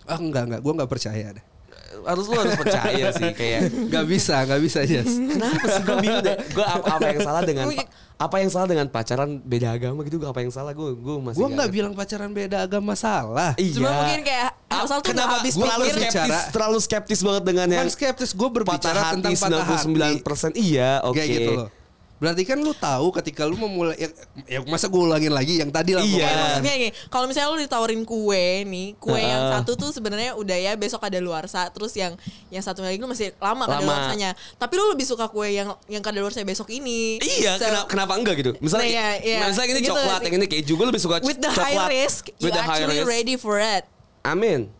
C: Ah enggak enggak, gue nggak percaya deh.
B: Harus lu harus percaya sih kayak
C: Nggak bisa, nggak bisa Jas.
B: Kenapa sih gue bingung deh Gue apa, apa yang salah dengan pa- Apa yang salah dengan pacaran beda agama gitu Apa yang salah gue gue masih
C: Gue nggak
B: ngerti.
C: bilang pacaran beda agama salah.
B: Iya Ah,
D: Cuma mungkin kayak asal tuh udah
B: Kenapa
D: habis
B: gua
D: perawir.
B: terlalu skeptis,
C: Bicara-
B: terlalu skeptis banget dengan
C: Bukan
B: yang
C: skeptis, gue berbicara
B: patah
C: tentang
B: hati
C: patah hati.
B: 99% Iya oke
C: Kayak gitu loh. Berarti kan lu tahu ketika lu memulai ya, ya masa gue ulangin lagi yang tadi lah
B: Iya.
D: Kayak
C: pokoknya.
D: maksudnya gini, kalau misalnya lu ditawarin kue nih, kue yang
B: Heeh.
D: satu tuh sebenarnya udah ya besok ada luarsa, terus yang yang satu lagi lu masih
B: Lama.
D: lama, kadaluarsanya. Tapi lu lebih suka kue yang yang kadaluarsa besok ini.
B: Iya,
D: So,
B: kenapa, kenapa enggak gitu? Misalnya,
D: Nah, iya, iya.
B: misalnya ini
D: Gitu
B: coklat,
D: sih.
B: yang ini keju, gue lebih suka
D: With the
B: coklat.
D: high risk, you
B: with the high
D: actually
B: risk.
D: ready for it.
B: Amin.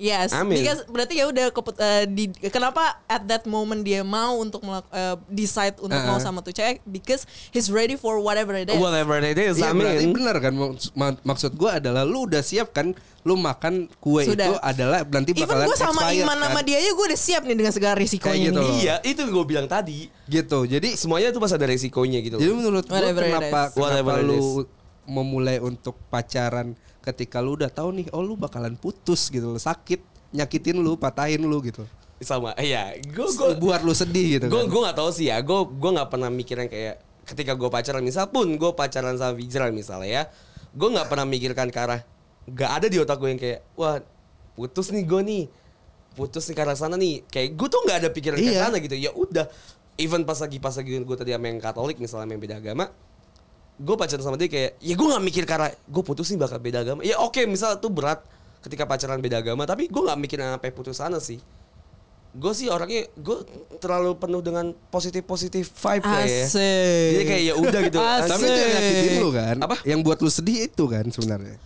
D: Yes,
B: Amin.
D: because berarti ya udah keput- eh, di- kenapa at that moment dia mau untuk melak- eh, decide untuk
C: Heeh.
D: mau sama tuh cewek because he's ready for whatever it is.
B: Whatever it is,
C: Iya berarti
B: amin.
C: benar kan Maks- ma- maksud gue adalah lu udah siap kan lu makan kue itu adalah nanti
D: Even
C: bakalan
D: gue sama
C: expired,
D: Iman
C: kan?
D: sama dia aja gue udah siap nih dengan segala risikonya
C: Kayak gitu
D: nih.
C: loh.
B: Iya, itu gue bilang tadi.
C: gitu jadi
B: Semuanya itu pasti ada resikonya gitu.
C: jadi
B: loh.
C: menurut gue
D: Whatever it
C: kenapa kenapa
D: is.
B: Whatever it is.
C: lu memulai untuk pacaran ketika lu udah tahu nih oh lu bakalan putus gitu loh sakit nyakitin lu patahin lu gitu
B: Sama, iya. Gue gue
C: buat lu sedih gitu
B: gue
C: kan
B: gue nggak tahu sih ya. Gue gue nggak pernah mikirin kayak ketika gue pacaran misal pun gue pacaran sama Vijral misalnya ya, gue nggak pernah mikirkan ke arah nggak ada di otak gue yang kayak wah putus nih gue nih putus nih karena sana nih kayak gue tuh nggak ada pikiran ke
C: Iya.
B: sana gitu ya udah even pas lagi pas lagi gue tadi sama yang Katolik misalnya sama yang beda agama gue pacaran sama dia kayak ya gue nggak mikir karena gue putus nih bakal beda agama ya oke misal tuh berat ketika pacaran beda agama tapi gue nggak mikirin sampai putus sana sih gue sih orangnya gue terlalu penuh dengan positif positif vibe kayak ya.
D: Asik.
B: Jadi kayak ya udah gitu.
D: Asik.
B: Tapi
C: tapi itu yang nyakitin lu kan
B: Apa?
C: yang buat lu sedih itu kan sebenarnya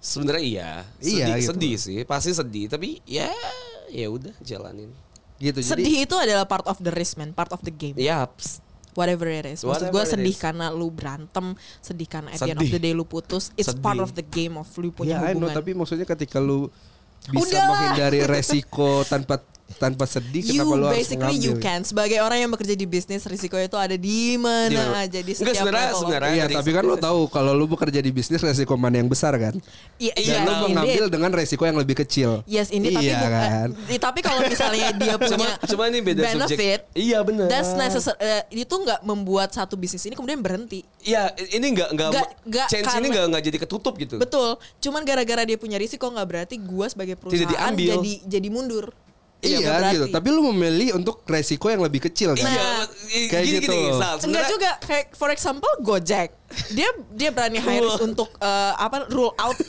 B: sebenarnya iya.
C: Iya,
B: sedih,
C: gitu.
B: sedih sih, pasti sedih. Tapi ya ya udah jalanin.
C: gitu jadi Iya.
D: Sedih itu adalah part of the risk man, part of the game.
B: Yaps.
D: Whatever it is. Maksud gue
B: Whatever it
D: sedih
B: is.
D: karena lu berantem, sedih karena at the end of
B: Sedih.
D: the day lu putus. It's
B: Sedih.
D: part of the game of lu punya
C: ya I know,
D: hubungan.
C: tapi maksudnya ketika lu bisa
D: Udahlah.
C: menghindari resiko tanpa tanpa sedih
D: You
C: kenapa lu harus
D: basically
C: mengambil
D: you can sebagai orang yang bekerja di bisnis risiko itu ada
B: Di
D: di mana
B: mana?
D: aja di
B: Enggak,
D: setiap
B: sebenarnya-
D: level.
B: sebenarnya-
C: Iya, tapi kan lu tahu kalau lu bekerja di bisnis resiko mana yang besar kan?
D: Iya,
B: Dan
D: iya,
C: Dan lu
D: indeed.
C: mengambil dengan resiko yang lebih kecil.
D: Yes ini tapi
C: Iya,
D: bu- eh,
C: kan?
D: di- tapi kalau misalnya dia punya
B: Cuma cuma ini beda
D: benefit,
B: subjek. Iya benar.
D: that's necessary. eh, itu nggak membuat satu bisnis ini kemudian berhenti.
B: Iya, ini enggak enggak
D: Nggak- nggak
B: change ini
D: karena-
B: enggak enggak jadi ketutup gitu.
D: Betul. Cuman gara-gara dia punya risiko nggak berarti gua sebagai perusahaan
B: diambil.
D: jadi jadi mundur.
C: Iya,
D: Nggak berarti.
C: gitu. Tapi lu memilih untuk resiko yang lebih kecil kan?
B: Iya,
D: Nah,
B: i-
C: kayak
B: gini
C: gitu.
B: gini. Sal,
D: Enggak
B: sebenarnya-
D: juga kayak for example Gojek. Dia dia berani hire
B: Wah.
D: untuk eh, apa rule out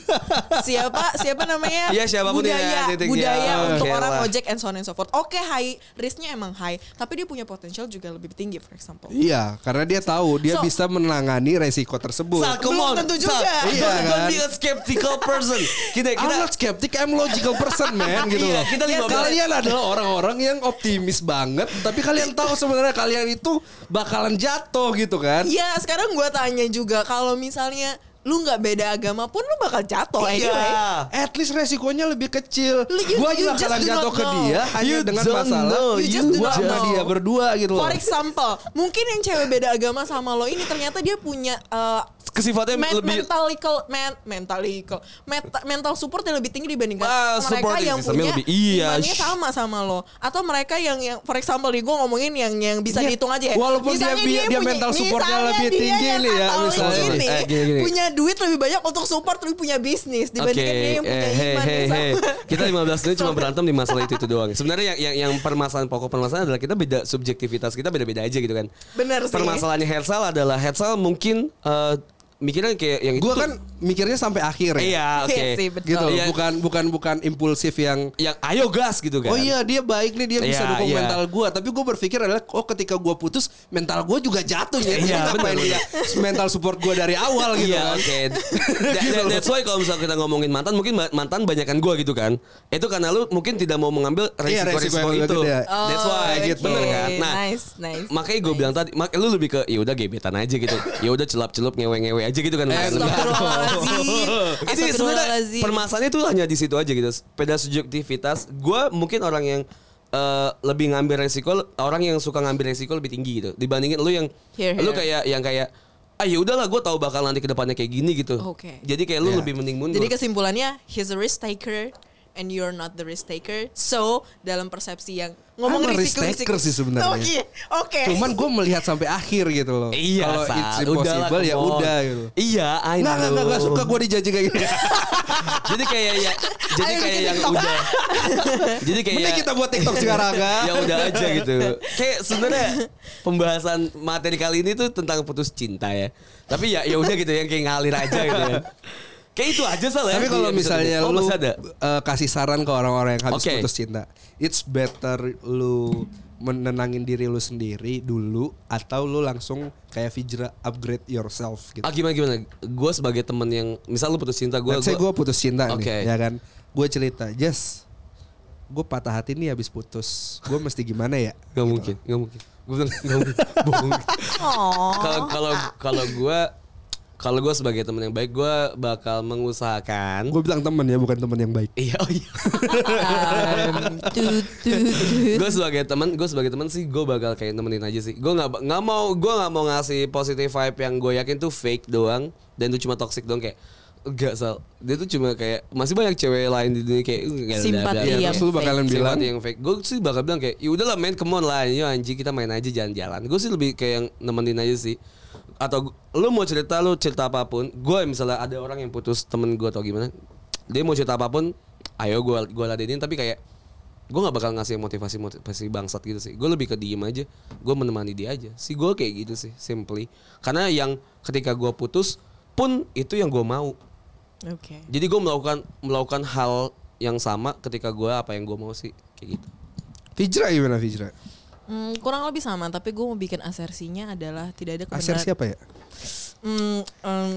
D: siapa siapa namanya?
B: Iya, siapapun ya,
D: budaya
B: titik.
D: budaya
B: Ya,
D: untuk
B: oke
D: orang
B: lah.
D: Gojek and so on and so forth. Oke, high risknya emang high, tapi dia punya potensial juga lebih tinggi for example.
C: Iya, karena dia tahu dia
D: So-
C: bisa menangani resiko tersebut.
B: Sal, come
D: Belum
B: on.
D: tentu
B: Sal,
D: juga.
B: don't-
C: Iya,
B: Don't
C: kan?
B: be a skeptical person. Kita
C: I'm
B: kita
C: not skeptic, I'm logical person man gitu
B: Iya,
C: loh.
B: kita lima belas.
C: kalian adalah orang-orang yang optimis banget, tapi kalian tahu sebenarnya kalian itu bakalan jatuh gitu kan?
D: Iya, sekarang gua tanya juga kalau misalnya lu nggak beda agama pun lu bakal jatuh anyway.
B: Iya.
C: At least resikonya lebih kecil.
D: Lu- you-
C: Gua
D: you
C: juga
D: just
C: akan
D: do not
C: jatuh ke
D: know.
C: dia hanya
B: You
C: dengan
B: don't
C: masalah
B: know,
D: you just do
C: gua
D: not
C: sama
D: know.
C: dia berdua gitu loh.
D: For example, mungkin yang cewek beda agama sama lo ini ternyata dia punya eh,
B: ke sifatnya
D: men
B: lebih
D: mentalical men mentalical meta- mental support yang lebih tinggi dibandingkan
B: Ah,
D: mereka
B: supporting
D: yang
B: systemnya
D: punya
B: lebih- iya,
D: imannya
B: shh.
D: sama sama lo atau mereka yang yang for example nih gue ngomongin yang yang bisa
C: Iya.
D: dihitung aja ya
C: Walaupun dia bi- dia mental supportnya
D: misalnya
C: lebih
D: dia
C: tinggi
D: yang
C: nih ya,
D: Katolik
C: misalnya.
D: ini,
B: Eh, gini, gini.
D: punya duit lebih banyak untuk support tapi punya bisnis dibandingkan dia yang punya
B: eh, hey,
D: iman
B: hey,
D: yang
B: hey.
D: sama.
B: Kita 15 menit cuma berantem di masalah itu itu doang. Sebenarnya yang, yang yang permasalahan pokok permasalahan adalah kita beda subjektivitas kita beda-beda aja gitu kan.
D: Benar sih.
B: Permasalahannya Hersal adalah Hersal mungkin eh, mikirnya kayak yang itu
C: Gue
B: tuh-
C: kan mikirnya sampai akhir ya.
B: Iya, oke.
D: Iya sih, betul.
C: Gitu,
B: Iya.
C: bukan bukan bukan impulsif yang
B: Yang ayo gas gitu kan.
C: Oh iya dia baik nih dia bisa
B: Iya,
C: dukung
B: iya.
C: mental gue tapi gue berpikir adalah oh ketika gue putus mental gue juga jatuh ya
B: Iya,
C: ngapain
B: bener,
C: dia mental support gue dari awal gitu
B: Iya
C: kan Gitu
B: oke. That- that- that's why kalau misalnya kita ngomongin mantan mungkin ma- mantan banyakan gua gitu kan. Itu karena lu mungkin tidak mau mengambil
C: Iya, resiko
B: resiko-resiko
C: yang lebih
B: itu.
C: gede.
B: That's why
D: Oh,
B: gitu.
D: oke.
B: Bener kan? Nah,
D: Nice, nice,
B: makanya gue
D: nice.
B: bilang tadi, mak lu lebih ke ya udah gebetan aja gitu. Ya udah celup-celup ngewe-ngewe aja gitu
D: Eh,
B: kan. maksud gua.
D: Astagfirullahaladzim.
B: Itu sebenarnya
D: Astagfirullahaladzim.
B: permasalahannya itu hanya di situ aja gitu. Pada subjektivitas, gua mungkin orang yang eh, lebih ngambil resiko, orang yang suka ngambil resiko lebih tinggi gitu dibandingin lu yang
D: Here,
B: lu
D: here.
B: kayak yang kayak ah ya udahlah gue tahu bakal nanti kedepannya kayak gini gitu.
D: Oke.
B: Jadi kayak lu lebih mending mundur.
D: Jadi kesimpulannya he's a risk taker and you're not the risk taker. So dalam persepsi yang ngomong
C: I'm a risk
D: risiko
C: taker sih sebenarnya.
D: Oke. Oke.
C: cuman gue melihat sampai akhir gitu loh
B: Iya,
C: kalau
B: Sal.
C: it's
B: Udahlah,
C: impossible
B: come
C: ya
B: on.
C: udah gitu
B: Iya, I
C: Nggak,
B: know.
C: nggak, nggak, nggak suka gue dijanji kayak gini
B: jadi kayak ya, jadi
D: Ayo
B: kayak
D: bikin
B: yang
D: TikTok.
B: udah. jadi kayak
C: Mending kita buat TikTok sekarang kan
B: ya udah aja gitu. Kayak sebenarnya pembahasan materi kali ini tuh tentang putus cinta ya. Tapi ya ya udah gitu yang kayak ngalir aja gitu. Ya. Kayak itu aja salah.
C: Tapi kalau misalnya
B: oh,
C: lu
B: masih ada.
C: eh, kasih saran ke orang-orang yang habis
B: Oke.
C: putus cinta, it's better lu menenangin diri lu sendiri dulu atau lu langsung kayak Fijra upgrade yourself gitu.
B: Ah gimana gimana? Gue sebagai temen yang misal lu putus cinta gue.
C: Let's say gue putus cinta
B: Oke.
C: nih, ya kan? Gue cerita, Jess, gue patah hati nih habis putus. Gue mesti gimana ya?
B: Gak mungkin, gak mungkin. Gue bilang gak mungkin. Bohong. Kalau kalau kalau gue kalau gue sebagai teman yang baik gue bakal mengusahakan.
C: Gue bilang temen ya, bukan temen yang baik.
B: Iya, oh iya.
D: Um, tut, tut, tut.
B: gue sebagai teman, gue sebagai teman sih gue bakal kayak nemenin aja sih. Gue nggak nggak mau gue nggak mau ngasih positive vibe yang gue yakin tuh fake doang dan itu cuma toxic doang kayak Enggak sal, dia tuh cuma kayak masih banyak cewek lain di dunia kayak "Uh, gak ada,
D: Simpati
B: bla, bla, bla."
D: yang
C: Iya, terus lu
D: fake.
C: bakalan
B: Siapa
C: bilang
B: tuh yang fake. Gue sih bakal bilang kayak, ya udahlah main come on lah, yo anjing kita main aja jalan-jalan. Gue sih lebih kayak yang nemenin aja sih. Atau gu- lu mau cerita lu cerita apapun, gue misalnya ada orang yang putus temen gue atau gimana, dia mau cerita apapun, ayo gue gue ladenin tapi kayak gue nggak bakal ngasih motivasi motivasi bangsat gitu sih gue lebih ke diem aja gue menemani dia aja sih gue kayak gitu sih simply karena yang ketika gue putus pun itu yang gue mau
D: Oke.
B: jadi gue melakukan melakukan hal yang sama ketika gue apa yang gue mau sih kayak gitu.
C: Fijra gimana Fijra?
D: Hmm, kurang lebih sama, tapi gue mau bikin asersinya adalah tidak ada kebenaran.
C: Aser siapa ya?
D: Hmm, em,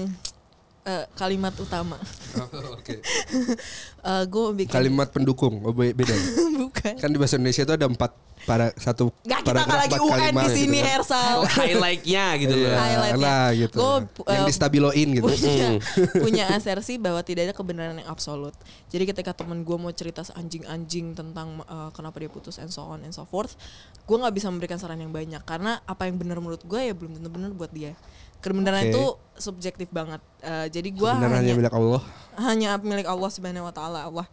D: eh, kalimat utama.
B: Oh,
C: Oke.
D: Eh, gue mau bikin
C: Kalimat pendukung, oh, be- beda. ya?
D: bukan.
C: kan di bahasa Indonesia itu ada empat para satu
D: Gak kita
C: paragraf,
D: nggak lagi
C: empat
D: UN di
C: kalimat
B: Iya,
D: sini
C: gitu kan.
B: Oh.
D: Hersal.
B: Highlightnya gitu loh.
C: Iya,
D: Highlightnya.
C: lah gitu.
D: Gua,
C: yang
D: eh,
C: distabiloin gitu.
B: Mm.
D: punya, punya asersi bahwa tidak ada kebenaran yang absolut. Jadi ketika temen gue mau cerita anjing-anjing tentang uh, kenapa dia putus and so on and so forth, gue nggak bisa memberikan saran yang banyak karena apa yang benar menurut gue ya belum tentu benar buat dia.
C: Oke.
D: Kebenaran itu subjektif banget. Uh, jadi gue
C: Benar hanya milik ya, Allah.
D: hanya milik Allah Subhanahu wa taala Allah.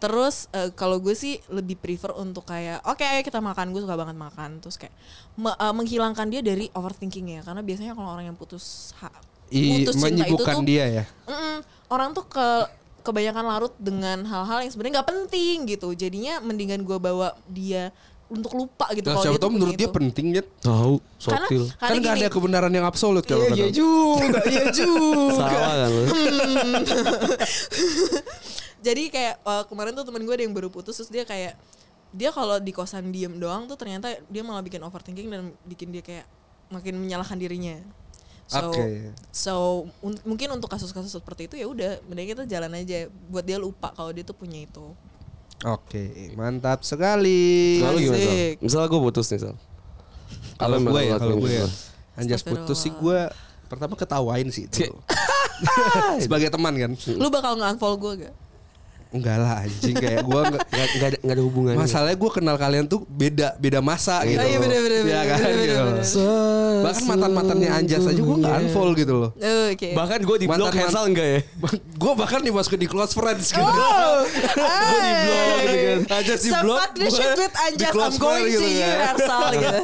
D: Terus eh, kalau gue sih lebih prefer untuk kayak oke ayo kita makan gue suka banget makan terus kayak me- eh, menghilangkan dia dari overthinking ya karena biasanya kalau orang yang putus ha,
C: I,
D: putus cinta nah, itu
C: menyibukkan
D: tuh
C: dia ya.
D: mm-mm, orang tuh ke kebanyakan larut dengan hal-hal yang sebenarnya nggak penting gitu. Jadinya mendingan gue bawa dia untuk lupa gitu
C: Nah,
D: kalau
C: siapa
D: dia tuh
C: tahu menurut
D: punya
C: dia
D: itu.
C: penting ya.
B: Tahu,
D: Karena
B: sotil.
D: karena
C: Kan gak
D: gini,
C: ada kebenaran yang absolut kalau
D: Iya,
C: kata
D: iya
C: orang.
D: juga, iya juga.
B: Salah kan lu.
D: Jadi kayak eh, kemarin tuh temen gue ada yang baru putus terus dia kayak dia kalau di kosan diem doang tuh ternyata dia malah bikin overthinking dan bikin dia kayak makin menyalahkan dirinya. So,
C: Oke. iya.
D: so un- mungkin untuk kasus-kasus seperti itu ya udah mending kita jalan aja buat dia lupa kalau dia tuh punya itu.
C: Oke, mantap sekali.
B: Lalu gimana Sal?
D: Asik.
B: Misalnya gue putus nih Sal. Apa
C: Kalau
B: yang
C: gue
B: bakal lu
C: ya, kalau
B: lakuin
C: gue ya.
B: sama
C: Anjas putus sih gue pertama ketawain sih itu. Sebagai teman kan.
D: Lu bakal nge-unfollow gue gak?
C: Enggak lah anjing kayak gue nggak
B: Nggak nggak ada, nggak ada hubungannya.
C: Masalahnya gue kenal kalian tuh beda beda masa gitu.
D: Oh, iya,
C: loh.
D: bener, bener,
C: Iya
D: bener,
C: kan,
D: bener,
C: gitu
D: bener,
C: loh.
D: bener.
C: Bahkan mantan-mantannya Anjas aja gue nggak unfollow gitu loh.
D: Oke.
B: Bahkan gue di blog
C: Mantan-
B: Hensal enggak ya?
C: gue bahkan dimasukin di close friends gitu.
D: Oh, iya,
C: Gua di blok gitu
D: hey.
C: kan. Anjas di
D: Some
C: blok,
D: partnership
C: gua
D: with Anjas,
C: di close
D: I'm going
C: friend gitu
D: to
C: kan.
D: Universal gitu.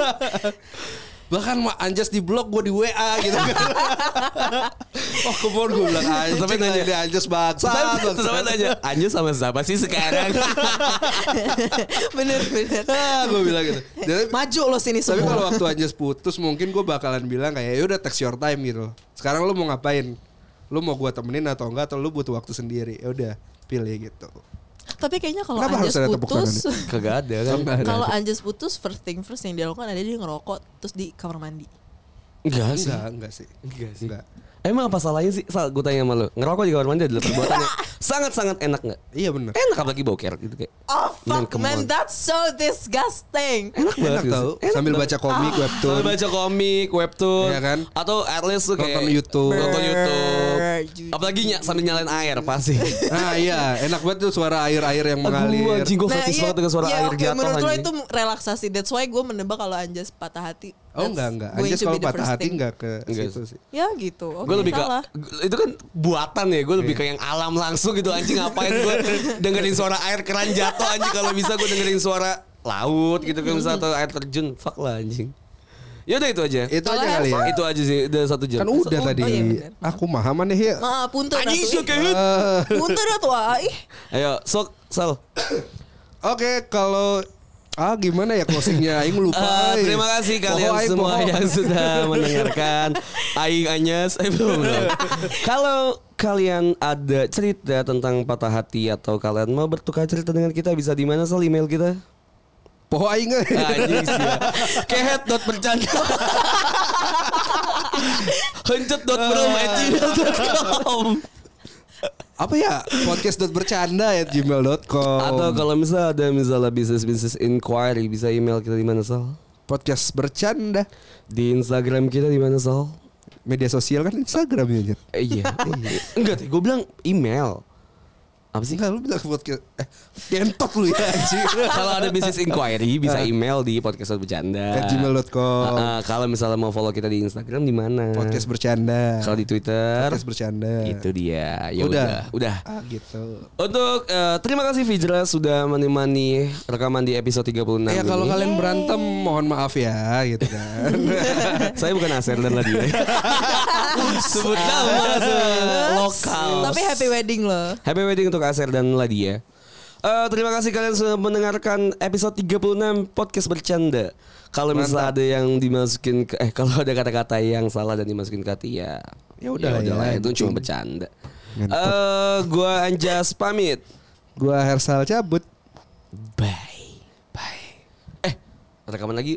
C: Bahkan mah Anjas di blok gue di WA gitu kan. oh kemarin gue bilang anjing
B: Tetep aja nanya.
C: ini Anjas baksa.
B: Sampai
C: baksa."
B: tanya, Anjir sama siapa sih sekarang?
D: bener bener.
C: Ah, gue bilang gitu. Dan-
D: Maju lo sini
C: tapi
D: semua.
C: kalau waktu Anjas putus mungkin gue bakalan bilang kayak ya udah text your time gitu. Sekarang lu mau ngapain? Lu mau gue temenin atau enggak atau lu butuh waktu sendiri? Ya udah pilih gitu.
D: Tapi kayaknya kalau
C: Kenapa harus
D: Anjas
C: ada tepuk
D: putus,
B: Kagak ada kan?
C: Enggak ada.
D: kalau Anjas putus first thing first yang dia lakukan ada dia ngerokok terus di kamar mandi.
B: Enggak sih.
C: Enggak, enggak sih.
B: Enggak sih.
C: Enggak.
B: Emang apa salahnya sih? Sal, gue tanya sama lu. Ngerokok di kamar mandi adalah perbuatan yang sangat-sangat enak nggak?
C: Iya bener.
B: Enak apalagi bau kerok gitu kayak.
D: Oh
B: Man,
D: fuck
B: come
D: man,
B: on.
D: that's so disgusting.
B: Enak banget.
C: Enak
B: gitu.
C: tau.
B: Enak
C: Sambil
B: banget.
C: baca komik webtoon.
B: Sambil baca komik, webtoon,
C: Iya kan?
B: atau at least tuh kayak
C: Nonton YouTube.
B: nonton YouTube.
D: Jujur.
B: Apalagi ny- sambil nyalain air pasti.
C: Nah iya, enak banget tuh suara air-air yang mengalir.
B: Aduh anjing gue fetish
D: iya,
B: banget dengan suara
D: iya,
B: air
D: oke,
B: jatuh
D: Menurut lo
B: anjing.
D: itu relaksasi. That's why gue menebak kalau Anjas patah hati.
C: Oh
D: That's
C: enggak enggak.
D: going
C: Anjas
D: to be
C: kalau
D: the
C: patah
D: first
C: hati
D: thing.
C: enggak ke
B: Enggak
C: situ
B: sih.
C: sih.
D: Ya gitu. Oke,
B: gue lebih ke
D: salah.
B: gu- itu kan buatan ya gue lebih ke yang alam langsung gitu anjing ngapain gue dengerin suara air keran jatuh anjing kalau bisa gue dengerin suara laut gitu kan misalnya atau air terjun fuck lah anjing ya udah itu aja
C: Itu
D: Kalau
C: aja kali ya.
B: itu aja sih udah satu jam
C: Kan udah
D: Oh,
C: tadi.
D: oh iya bener.
C: Aku mahaman nih ya.
D: Ma, punten
B: anjing
D: atuh,
B: sih
D: ih.
B: kayak gitu.
C: Eh,
D: Punten atuh, ah, ih.
B: ayo sok sal
C: Oke, kalau ah gimana ya closingnya? Aing lupa.
B: Eh,
C: eh.
B: terima kasih kalian
C: Poho, aing,
B: semua
C: poho.
B: yang sudah mendengarkan Aing Anyas eh, belum, belum. Kalau kalian ada cerita tentang patah hati atau kalian mau bertukar cerita dengan kita bisa di mana sal email kita?
C: Poho aing. eh.
B: Anjing sih ya. Kehet dot bercanda. Hencut dot belum
C: Eh.
B: at gmail.com.
C: Apa ya? Podcast.bercanda at gmail.com
B: Atau kalau misalnya ada misalnya bisnis bisnis inquiry bisa email kita di mana sal?
C: podcast bercanda
B: Di Instagram kita di mana sal?
C: media sosial kan Instagram ya. Jan?
B: Eh, iya. Enggak, gue bilang email. Apa sih?
C: Enggak lu bilang podcast eh gentot lu ya anjing.
B: kalau ada bisnis inquiry bisa email di podcast bercanda.
C: At gmail.com.
B: Ah, ah, kalau misalnya mau follow kita di Instagram di mana?
C: podcast bercanda.
B: Kalau di Twitter
C: podcast bercanda.
B: itu dia. Ya
C: Udah.
B: udah. udah.
C: Ah gitu.
B: Untuk eh, terima kasih Fijra sudah menemani rekaman di episode 36
C: Ya kalau
B: ini.
C: kalian berantem mohon maaf ya gitu kan.
B: Saya bukan Aser dan Nadia. Sebut nama se- Nah, lokal.
D: Nah, Tapi happy wedding loh.
B: Happy wedding untuk Aser dan Ladia. Eh, terima kasih kalian sudah mendengarkan episode 36 podcast bercanda. Kalau misalnya ada yang dimasukin ke eh kalau ada kata-kata yang salah dan dimasukin ke hati ya
C: Ya udahlah
B: ya
C: ya,
B: udahlah, itu
C: anjing.
B: cuma bercanda. Eh
C: Ngentot.
B: gua Anjas pamit.
C: Gua Hersal cabut.
B: Bye. Bye. Eh, rekaman lagi.